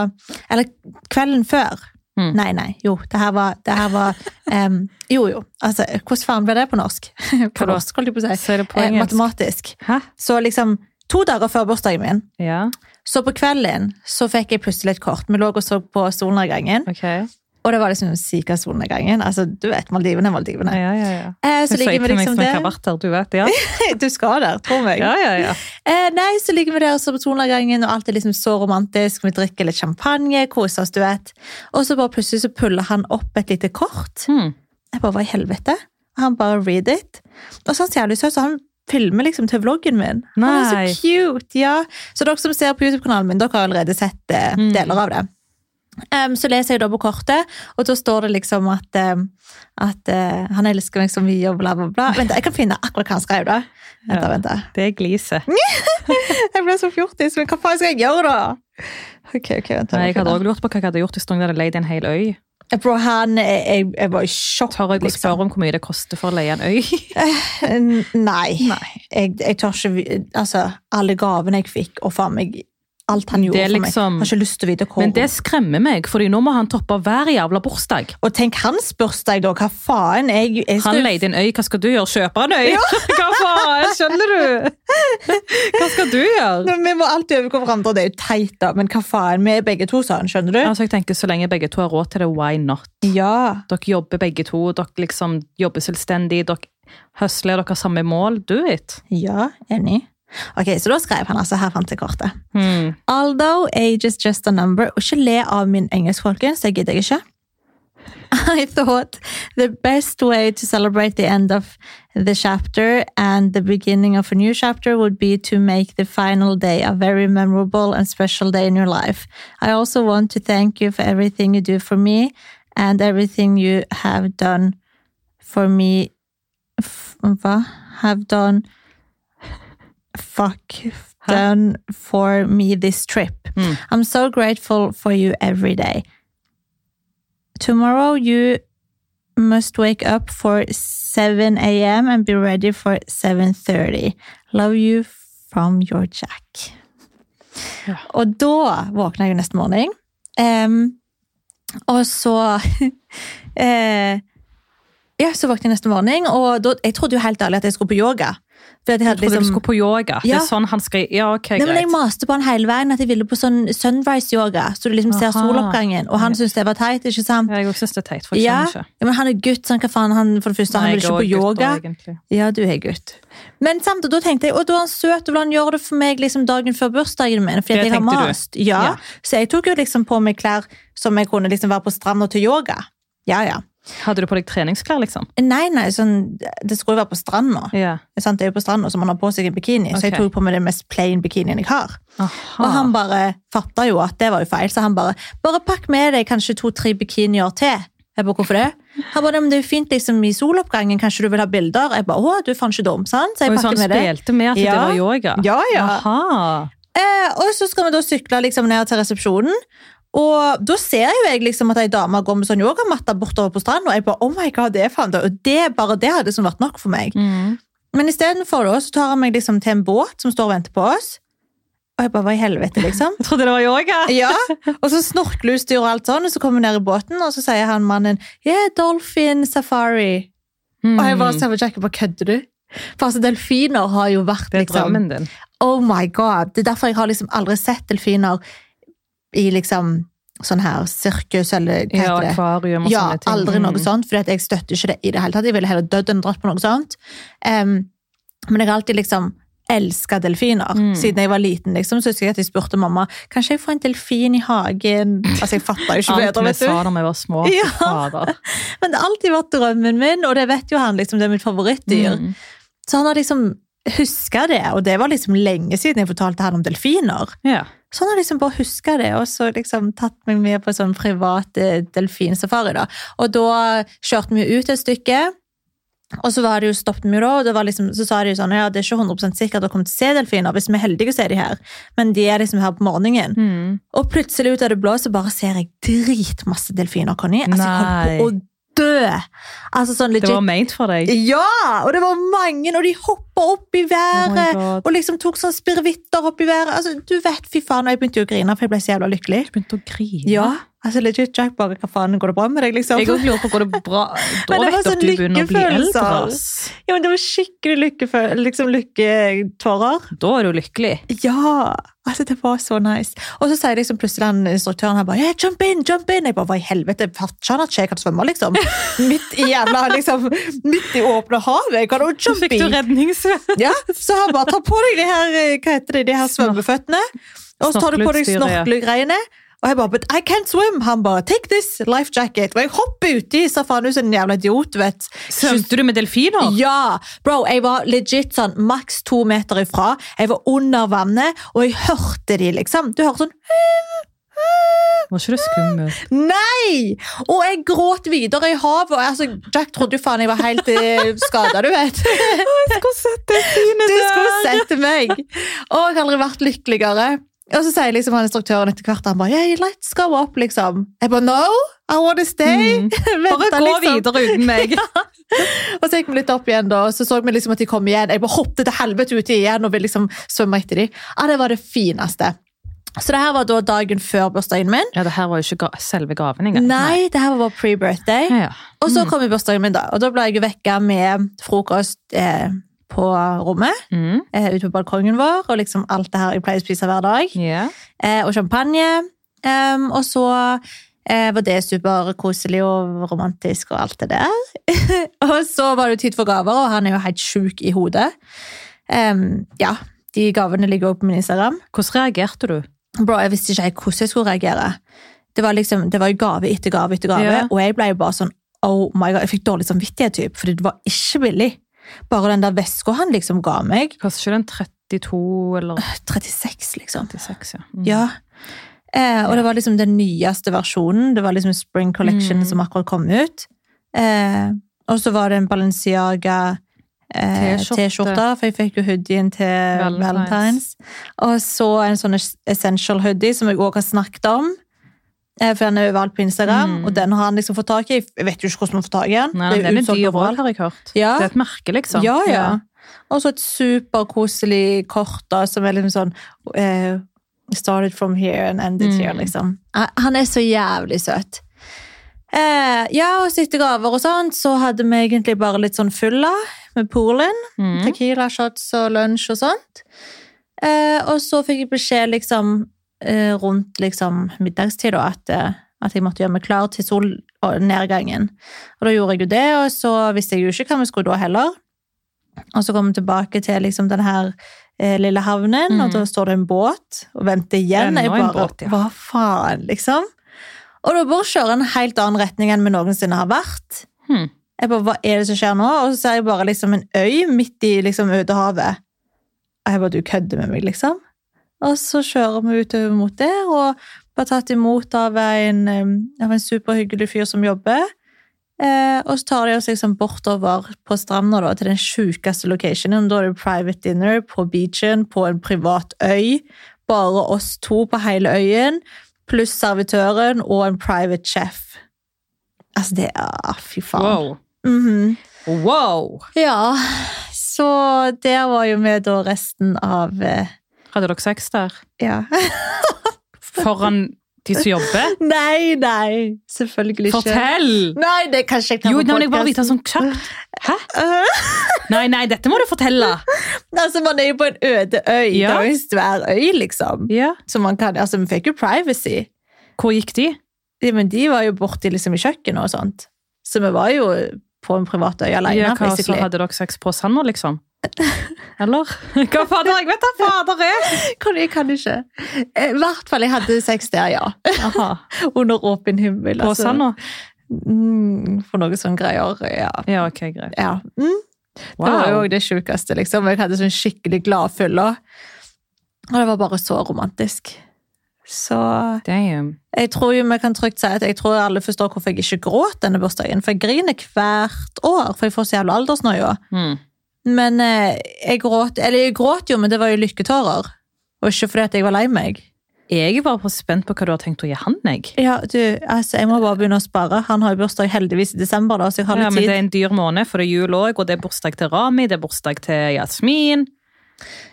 Speaker 1: Eller kvelden før.
Speaker 2: Mm.
Speaker 1: Nei, nei, jo. Det her var, det her var em, Jo, jo. Altså, hvordan faen ble det på norsk?
Speaker 2: Hva
Speaker 1: på
Speaker 2: da?
Speaker 1: norsk, holdt jeg på å si.
Speaker 2: Så er det på
Speaker 1: Eh,
Speaker 2: engelsk.
Speaker 1: matematisk.
Speaker 2: Hæ?
Speaker 1: Så liksom to dager før bursdagen min,
Speaker 2: Ja,
Speaker 1: så på kvelden, så fikk jeg plutselig et kort. Vi lå og så på solnedgangen.
Speaker 2: ok. Ja,
Speaker 1: Og det var liksom den sykeste solnedgangen. Altså, du vet, Maldivene er Maldivene.
Speaker 2: ja, ja. ja.
Speaker 1: Eh, så
Speaker 2: Jeg
Speaker 1: ligger vi
Speaker 2: til meg
Speaker 1: liksom
Speaker 2: som jeg har
Speaker 1: der.
Speaker 2: vært der, du vet. Ja,
Speaker 1: Du skal der, tro meg.
Speaker 2: ja, ja. ja.
Speaker 1: Eh, nei, så ligger vi der også på solnedgangen, og alt er liksom så romantisk. Vi drikker litt champagne, koser oss, du vet. Og så bare plutselig så puller han opp et lite kort.
Speaker 2: Hmm.
Speaker 1: Jeg bare, hva i helvete? Og han bare read it. Og sånn så er han jævlig søt, så han filmer liksom til vloggen min. Han er
Speaker 2: Nei.
Speaker 1: så cute, ja. Så dere som ser på YouTube-kanalen min, dere har allerede sett eh,
Speaker 2: Mm.
Speaker 1: deler av det. Em, så leser jeg da på kortet, og da står det liksom at, em, at eh, han elsker meg så mye og bla, bla, bla. Vent, jeg kan finne akkurat hva han skrev, da. Vent, da,
Speaker 2: Ja.
Speaker 1: vent. da.
Speaker 2: Det er gliset.
Speaker 1: Mm. Jeg ble så fjortis, men hva faen skal jeg gjøre, da? Ok, ok, vent. da,
Speaker 2: Nei,
Speaker 1: jeg
Speaker 2: Jeg
Speaker 1: må finne.
Speaker 2: hadde også lurt på hva jeg hadde gjort hvis noen hadde leid en hel øy.
Speaker 1: Bro, han jeg, jeg, jeg var i sjokk.
Speaker 2: Tør jeg å
Speaker 1: liksom.
Speaker 2: spørre om hvor mye det koster for å leie en øy?
Speaker 1: Eh, N- Nei.
Speaker 2: Nei.
Speaker 1: Jeg, jeg tør ikke vi- Altså, alle gavene jeg fikk, og faen meg alt han gjorde
Speaker 2: Det er
Speaker 1: for
Speaker 2: liksom-
Speaker 1: meg. Jeg har ikke lyst til å vite hvor.
Speaker 2: Men det skremmer meg, for nå må han toppe hver jævla bursdag.
Speaker 1: Og tenk hans bursdag, da! Hva faen? Jeg, jeg
Speaker 2: Han leide en øy, hva skal du gjøre? Kjøpe en øy? Hva faen, skjønner du? Hva skal du gjøre?
Speaker 1: Nå, Vi må alltid overgå hverandre, og det er jo teit, da, men hva faen? Vi er begge to sånn, skjønner du?
Speaker 2: Altså, jeg tenker Så lenge begge to har råd til det, why not?
Speaker 1: Ja.
Speaker 2: Dere jobber begge to, dere liksom jobber selvstendig, dere høsler, dere har samme mål. Do it.
Speaker 1: Ja, enig. Ok, Så da skrev han altså Her fant jeg kortet.
Speaker 2: Hmm.
Speaker 1: Although age is just a number Og ikke le av min engelsk, folkens. Det gidder jeg ikke. I thought the best way to celebrate the end of the chapter and the beginning of a new chapter would be to make the final day a very memorable and special day in your life. I also want to thank you for everything you do for me and everything you have done for me. F hva? Have done Fuck done for me this trip.
Speaker 2: Mm.
Speaker 1: I'm so grateful for you every day. Tomorrow you must wake up for 7 a.m. and be ready for 7.30. Love you from your Jack.
Speaker 2: Ja.
Speaker 1: Og da våkna jeg jo neste morgen. Em, og så eh, Ja, så våkna jeg neste morgen, og da, jeg trodde jo helt ærlig at jeg skulle på yoga. For at jeg
Speaker 2: Jeg
Speaker 1: hadde
Speaker 2: trodde du
Speaker 1: liksom
Speaker 2: skulle på yoga. Det
Speaker 1: Ja.
Speaker 2: er sånn han skriver. Ja, ok,
Speaker 1: Nei, men Jeg
Speaker 2: greit.
Speaker 1: maste på han hele veien at jeg ville på sånn sunrise-yoga, så du liksom ser
Speaker 2: Aha.
Speaker 1: soloppgangen. Og han syntes det var teit, ikke sant?
Speaker 2: Ja, Jeg også synes det er teit, for jeg
Speaker 1: Ja,
Speaker 2: skjønner ikke.
Speaker 1: ja, men han er gutt, så han, hva faen, han, for det første,
Speaker 2: Nei,
Speaker 1: han vil
Speaker 2: jeg
Speaker 1: ikke på
Speaker 2: er også gutt
Speaker 1: yoga.
Speaker 2: da, egentlig.
Speaker 1: Ja, du er gutt. Men samt, og da tenkte jeg, og da er han søt, og vil han gjøre det for meg liksom dagen før bursdagen min, fordi
Speaker 2: Det
Speaker 1: at jeg har
Speaker 2: tenkte du.
Speaker 1: mast. Ja.
Speaker 2: Ja.
Speaker 1: Så jeg tok jo liksom på meg klær som jeg kunne liksom være på stranda til yoga. Ja, ja.
Speaker 2: Hadde du på deg treningsklær, liksom?
Speaker 1: Nei, nei, sånn, det skulle jo være på stranda.
Speaker 2: Ja.
Speaker 1: Sant? Det er jo på stranda, så man har på seg en bikini. Så jeg
Speaker 2: Ok.
Speaker 1: tok på meg den mest plain bikinien jeg har.
Speaker 2: Aha.
Speaker 1: Og han bare fatta jo at det var jo feil, så han bare Bare pakk med deg kanskje to-tre bikinier til. Jeg bare, hvorfor det? Han bare, «Nei, men det er jo fint liksom i soloppgangen, kanskje du vil ha bilder? Jeg bare, å, du er faen ikke dum, sant? Så jeg
Speaker 2: Oi, så han
Speaker 1: pakket med det.
Speaker 2: sånn spilte med at
Speaker 1: Ja.
Speaker 2: det var yoga?
Speaker 1: Ja, ja.
Speaker 2: Aha.
Speaker 1: Eh, og så skal vi da sykle liksom ned til resepsjonen. Og da ser jo jeg liksom at ei dame går med sånn yogamatte bortover på stranden, og jeg bare, oh my god, det er faen det. Og det, bare det hadde liksom vært nok for meg.
Speaker 2: Mm.
Speaker 1: Men istedenfor da, så tar han meg liksom til en båt som står og venter på oss. Og jeg bare, hva i helvete, liksom?
Speaker 2: Jeg trodde det var yoga!
Speaker 1: Ja, og så snorkelutstyr og alt sånn, og så kommer vi ned i båten, og så sier han mannen, yeah, dolphin safari.
Speaker 2: Mm.
Speaker 1: Og jeg bare ser på Jack og bare, kødder du? For altså, delfiner har jo vært
Speaker 2: Det er
Speaker 1: liksom,
Speaker 2: drømmen din.
Speaker 1: oh my god, det er derfor jeg har liksom aldri sett delfiner i liksom sånn her sirkus, eller hva
Speaker 2: Ja,
Speaker 1: heter det?
Speaker 2: akvarium og
Speaker 1: Ja,
Speaker 2: sånne ting.
Speaker 1: aldri
Speaker 2: Mm.
Speaker 1: noe sånt, for jeg støtter ikke det i det hele tatt. Jeg ville heller dødd enn dratt på noe sånt. Em, men jeg har alltid liksom elska delfiner.
Speaker 2: Mm.
Speaker 1: Siden jeg var liten, liksom, så husker jeg at jeg spurte mamma kan ikke jeg få en delfin i hagen. Altså, jeg fatta jo ikke
Speaker 2: Alt
Speaker 1: bedre,
Speaker 2: vi
Speaker 1: vet du.
Speaker 2: sa da vi var små.
Speaker 1: Ja.
Speaker 2: Fader.
Speaker 1: Men det har alltid vært drømmen min, og det vet jo han, liksom, det er mitt favorittdyr.
Speaker 2: Mm.
Speaker 1: Så han har liksom huska det, og det var liksom lenge siden jeg fortalte han om delfiner.
Speaker 2: Ja.
Speaker 1: Så han har liksom bare huska det, og så liksom tatt meg med på sånn privat eh, delfinsafari. da. Og da kjørte vi ut et stykke, og så var det jo stoppet vi jo da, og det var liksom, så sa de jo sånn ja, det er ikke 100 sikkert å komme til å se delfiner, hvis vi er heldige så er de her, men de er liksom her på morgenen.
Speaker 2: Mm.
Speaker 1: Og plutselig ut av det blå så bare ser jeg dritmasse delfiner, Conny. Altså, jeg holdt på å
Speaker 2: Nei.
Speaker 1: dø! Altså sånn
Speaker 2: Det
Speaker 1: legit.
Speaker 2: var meint for deg.
Speaker 1: Ja! Og det var mange, og de hoppa opp i
Speaker 2: Oh my
Speaker 1: været.
Speaker 2: God.
Speaker 1: Og liksom tok sånn spirvitter opp i været. Altså, du vet, fy faen, og jeg begynte jo å grine, for jeg ble så jævla lykkelig.
Speaker 2: Du begynte å grine.
Speaker 1: Ja, altså legit Jack bare, hva faen, går det bra med deg, liksom?
Speaker 2: Jeg òg lurer på går det bra. Da
Speaker 1: Men det var
Speaker 2: vet du
Speaker 1: sånn
Speaker 2: at du begynner å bli
Speaker 1: lykkefølelse.
Speaker 2: eldre. ass.
Speaker 1: Ja, men det var skikkelig lykkeføl- liksom lykketårer.
Speaker 2: Da er du lykkelig.
Speaker 1: Ja, altså det var så nice. Og så sier liksom plutselig den instruktøren her bare, yeah, jump in, jump in. Jeg bare, hva i helvete, jeg fatter ikke han at ikke jeg kan svømme, liksom. Midt i jævla, liksom, midt i åpne havet, jeg kan jo
Speaker 2: Så
Speaker 1: jump
Speaker 2: fikk du
Speaker 1: in.
Speaker 2: redningsvett.
Speaker 1: Ja, så han bare tar på deg de her, eh, hva heter det, de her svømmeføttene, og så tar du på deg
Speaker 2: Snorkelutstyret,
Speaker 1: snorkelegreiene, og jeg bare, but I can't swim. Han bare, take this life jacket. Og jeg hopper uti, så faen ut som en jævla idiot, vet.
Speaker 2: Svømte du med delfiner?
Speaker 1: Ja, bro, jeg var legit sånn maks to meter ifra. Jeg var under vannet, og jeg hørte de liksom. Du hører sånn,
Speaker 2: Var ikke det skummelt?
Speaker 1: nei! Og jeg gråt videre i havet, og altså, Jack trodde jo faen jeg var helt eh, skadet, du vet.
Speaker 2: skulle sett det synet
Speaker 1: Du skulle sett meg! Og jeg har aldri vært lykkeligere. Og så sier liksom han instruktøren etter hvert han bare, yeah, let's go up, liksom. Jeg bare, no, I want to stay.
Speaker 2: Mm.
Speaker 1: Vent
Speaker 2: Bare
Speaker 1: da,
Speaker 2: gå
Speaker 1: liksom.
Speaker 2: videre uten meg.
Speaker 1: Og så gikk vi litt opp igjen, da, og så så vi liksom at de kom igjen. Jeg bare hoppet til helvete uti igjen og ville liksom svømme etter dem. Ja, det var det fineste. Så det her var da dagen før bursdagen min.
Speaker 2: Ja, det her var jo ikke ga selve gaven engang.
Speaker 1: Nei, det her var vår pre-birthday.
Speaker 2: Ja, ja.
Speaker 1: Og så kom jo bursdagen min, da. Og da ble jeg jo vekka med frokost eh, på rommet,
Speaker 2: Mm.
Speaker 1: eh, ute på balkongen vår, og liksom alt det her jeg pleier å spise hver dag.
Speaker 2: Ja.
Speaker 1: eh, og champagne. Em, og så eh, var det superkoselig og romantisk og alt det der. og så var det jo tid for gaver, og han er jo helt sjuk i hodet. Em, ja, de gavene ligger også på min Instagram.
Speaker 2: Hvordan reagerte du?
Speaker 1: Bro, jeg visste ikke helt hvordan jeg skulle reagere. Det var liksom, det var jo gave etter gave etter gave,
Speaker 2: Ja.
Speaker 1: og jeg ble jo bare sånn oh my god, jeg fikk dårlig samvittighet, typ, fordi det var ikke billig. Bare den der veska han liksom ga meg.
Speaker 2: Kanskje ikke den 32 eller
Speaker 1: 36, liksom.
Speaker 2: 36, ja. Mm.
Speaker 1: Ja. Eh, og det var liksom den nyeste versjonen. Det var liksom Spring Collection
Speaker 2: Mm.
Speaker 1: som akkurat kom ut. Eh, og så var det en Balenciaga eh,
Speaker 2: T-skjorte.
Speaker 1: T-skjorte, for jeg fikk jo hoodien til
Speaker 2: Valentines.
Speaker 1: Valentines. Og så en sånn Essential hoodie som jeg òg har snakket om. Eh, for den er overalt på Instagram,
Speaker 2: Mm.
Speaker 1: og den har han liksom fått tak i. Jeg vet jo ikke hvordan man får tak i den.
Speaker 2: Nei, men den er
Speaker 1: utsolgt
Speaker 2: dyr
Speaker 1: overalt.
Speaker 2: også, har jeg hørt.
Speaker 1: Ja.
Speaker 2: Det er et merke, liksom.
Speaker 1: Ja, ja. Og så et superkoselig kort da, som er liksom sånn eh, Started from here and ended
Speaker 2: Mm.
Speaker 1: here, liksom. Eh, Han er så jævlig søt. Eh, ja, og så etter gaver og sånt, så hadde vi egentlig bare litt sånn fulla med poolen.
Speaker 2: Mm.
Speaker 1: Tequila shots og lunsj og sånt. Eh, og så fikk jeg beskjed liksom eh, rundt liksom middagstid da, at, eh, at jeg måtte gjøre meg klar til solnedgangen. Og da gjorde jeg jo det, og så visste jeg jo ikke hva vi skulle da heller. Og så kom vi tilbake til liksom den her eh, lille havnen,
Speaker 2: Mm.
Speaker 1: og da står det en båt og venter igjen.
Speaker 2: Ennå
Speaker 1: jeg
Speaker 2: en
Speaker 1: bare,
Speaker 2: båt, ja.
Speaker 1: Hva faen, liksom? Og da bare kjører en helt annen retning enn vi noensinne har vært.
Speaker 2: Hmm.
Speaker 1: Jeg bare, Hva er det som skjer nå? Og så ser jeg bare liksom en øy midt i liksom Ødehavet. Og jeg bare Du kødder med meg, liksom? Og så kjører vi utover mot der, og ble tatt imot av en, eh, av en superhyggelig fyr som jobber. Eh, og så tar de oss liksom bortover på stranda da, til den sjukeste locationen. Da er det private dinner på beachen på en privat øy. Bare oss to på hele øyen, pluss servitøren og en private chef. Altså, det er ah, Fy faen.
Speaker 2: Wow.
Speaker 1: Mhm.
Speaker 2: wow!
Speaker 1: Ja, så der var jo vi da resten av eh,
Speaker 2: Hadde dere sex der?
Speaker 1: Ja.
Speaker 2: Foran de som jobber?
Speaker 1: Nei, nei, selvfølgelig ikke.
Speaker 2: Fortell!
Speaker 1: Nei, det kan ikke jeg ta
Speaker 2: Jo,
Speaker 1: på
Speaker 2: nei, men jeg bare vil
Speaker 1: podcasten.
Speaker 2: vite sånn kjapt. Hæ? Nei, nei, dette må du fortelle!
Speaker 1: Altså, man er jo på en øde øy.
Speaker 2: Ja.
Speaker 1: Det er jo en svær øy, liksom.
Speaker 2: Ja.
Speaker 1: Så man kan, altså, vi fikk jo privacy.
Speaker 2: Hvor gikk de?
Speaker 1: Ja, men de var jo borti liksom, i kjøkkenet og sånt. Så vi var jo på en privat øy alene,
Speaker 2: Ja, hva, så
Speaker 1: basically.
Speaker 2: hadde dere sex på sanda, liksom? Eller? Hva fader, jeg vet da fader er!
Speaker 1: Kan, jeg kan ikke. Eh, I hvert fall, jeg hadde sex der, ja.
Speaker 2: Aha,
Speaker 1: Under åpen himmel.
Speaker 2: på
Speaker 1: altså.
Speaker 2: sanda?
Speaker 1: Mm, for noe sånn greier, ja.
Speaker 2: Ja, ok, greit.
Speaker 1: ja. Mm. Det var jo
Speaker 2: Wow.
Speaker 1: også det sjukeste, liksom. Jeg hadde sånn skikkelig glad fylla. Og det var bare så romantisk. Så
Speaker 2: Damn.
Speaker 1: jeg tror jo vi kan trygt si at jeg tror alle forstår hvorfor jeg ikke gråt denne bursdagen. For jeg griner hvert år, for jeg får så jævla aldersnøye.
Speaker 2: Mm.
Speaker 1: Men eh, jeg gråt Eller jeg gråt jo, men det var jo lykketårer. Og ikke fordi at jeg var lei meg.
Speaker 2: Jeg er bare på- spent på hva du har tenkt å gi han, jeg.
Speaker 1: Ja, du, altså, Jeg må bare begynne å spare. Han har jo bursdag heldigvis i desember, da, så jeg har
Speaker 2: Ja,
Speaker 1: litt
Speaker 2: men det
Speaker 1: tid.
Speaker 2: er en dyr måned, for det er jul òg, og det er bursdag til Rami, det er bursdag til Jasmin.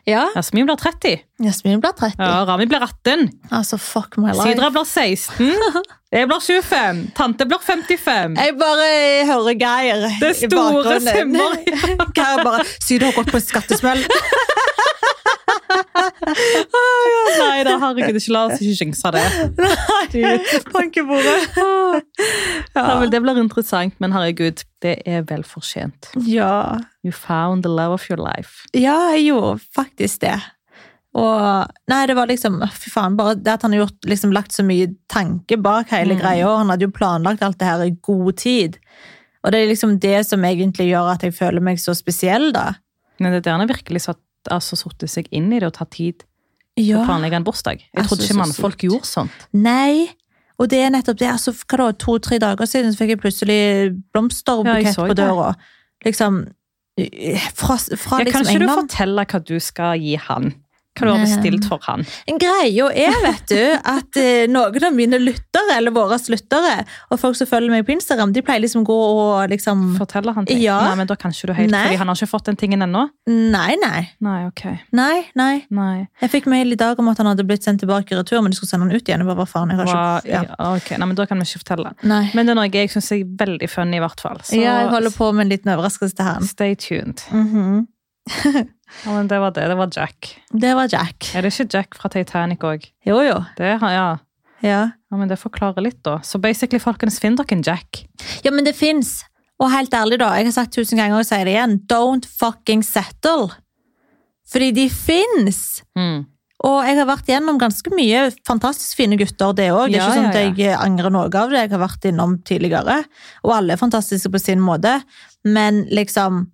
Speaker 1: Ja,
Speaker 2: Jasmin blir 30.
Speaker 1: Jasmin blir 30.
Speaker 2: Ja, Rami blir 18.
Speaker 1: Altså, fuck my life.
Speaker 2: Sidra blir 16. Jeg blir 25. Tante blir 55.
Speaker 1: Jeg bare hører Geir
Speaker 2: Det er
Speaker 1: i
Speaker 2: store
Speaker 1: bakgrunnen.
Speaker 2: summer.
Speaker 1: Geir bare Syden har gått på en skattesmell.
Speaker 2: Nei da, herregud, ikke la oss ikke jinxe det.
Speaker 1: Bankebordet.
Speaker 2: Nei, vel, det blir interessant, men herregud, det er vel fortjent.
Speaker 1: Ja.
Speaker 2: You found the love of your life.
Speaker 1: ja, jeg gjorde faktisk det. Og Nei, det var liksom Fy faen, bare det at han har gjort, liksom, lagt så mye tanke bak hele
Speaker 2: Mm.
Speaker 1: greia. og Han hadde jo planlagt alt det her i god tid. Og det er liksom det som egentlig gjør at jeg føler meg så spesiell, da.
Speaker 2: Men det der han har virkelig satt, altså, satt seg inn i det og tatt tid til å
Speaker 1: Ja.
Speaker 2: planlegge en bursdag. Jeg
Speaker 1: Altså,
Speaker 2: trodde ikke
Speaker 1: så
Speaker 2: mannfolk
Speaker 1: sykt.
Speaker 2: gjorde sånt.
Speaker 1: Nei. Og det er nettopp det. Altså, hva da, To-tre dager siden så fikk jeg plutselig
Speaker 2: Ja, jeg
Speaker 1: blomsterbukett
Speaker 2: så
Speaker 1: på
Speaker 2: det.
Speaker 1: døra. Liksom eh, Fra, fra
Speaker 2: Ja, kan
Speaker 1: liksom
Speaker 2: ikke du
Speaker 1: England.
Speaker 2: fortelle hva du skal gi han? Hva du har
Speaker 1: Nei.
Speaker 2: bestilt for han?
Speaker 1: Greia er, vet du, at eh, noen av mine lyttere, eller våre lyttere, og folk som følger meg på Instagram, de pleier liksom gå og liksom
Speaker 2: Forteller han ting?
Speaker 1: Ja.
Speaker 2: Nei, men da kan ikke du helt,
Speaker 1: Nei.
Speaker 2: fordi han har ikke fått den tingen ennå.
Speaker 1: Nei, nei.
Speaker 2: Nei, ok.
Speaker 1: Nei, nei.
Speaker 2: Nei.
Speaker 1: Jeg fikk mail i dag om at han hadde blitt sendt tilbake i retur, men de skulle sende han ut igjen. Jeg bare, hva faen, jeg har
Speaker 2: Hva- ah,
Speaker 1: ikke... Ja.
Speaker 2: ok. Nei, men da kan vi ikke fortelle.
Speaker 1: Nei.
Speaker 2: Men det er noe jeg synes er veldig funny i hvert fall. Så
Speaker 1: ja, jeg holder på med en liten overraskelse til han.
Speaker 2: stay tuned.
Speaker 1: Mhm.
Speaker 2: Ja, men det var det. Det var Jack.
Speaker 1: Det var Jack.
Speaker 2: Er det ikke Jack fra Titanic òg?
Speaker 1: Jo, jo.
Speaker 2: Det, har- ja.
Speaker 1: Ja.
Speaker 2: ja, men det forklarer litt, da. Så basically, folkens, finn dere en Jack.
Speaker 1: Ja, men det fins. Og helt ærlig, da. Jeg har sagt tusen ganger og sier det igjen. Don't fucking settle. Fordi de fins. Og jeg har vært gjennom ganske mye fantastisk fine gutter, det òg. Det er
Speaker 2: Ja,
Speaker 1: ikke sånn at
Speaker 2: ja, ja.
Speaker 1: jeg angrer noe av det jeg har vært innom tidligere. Og alle er fantastiske på sin måte. Men liksom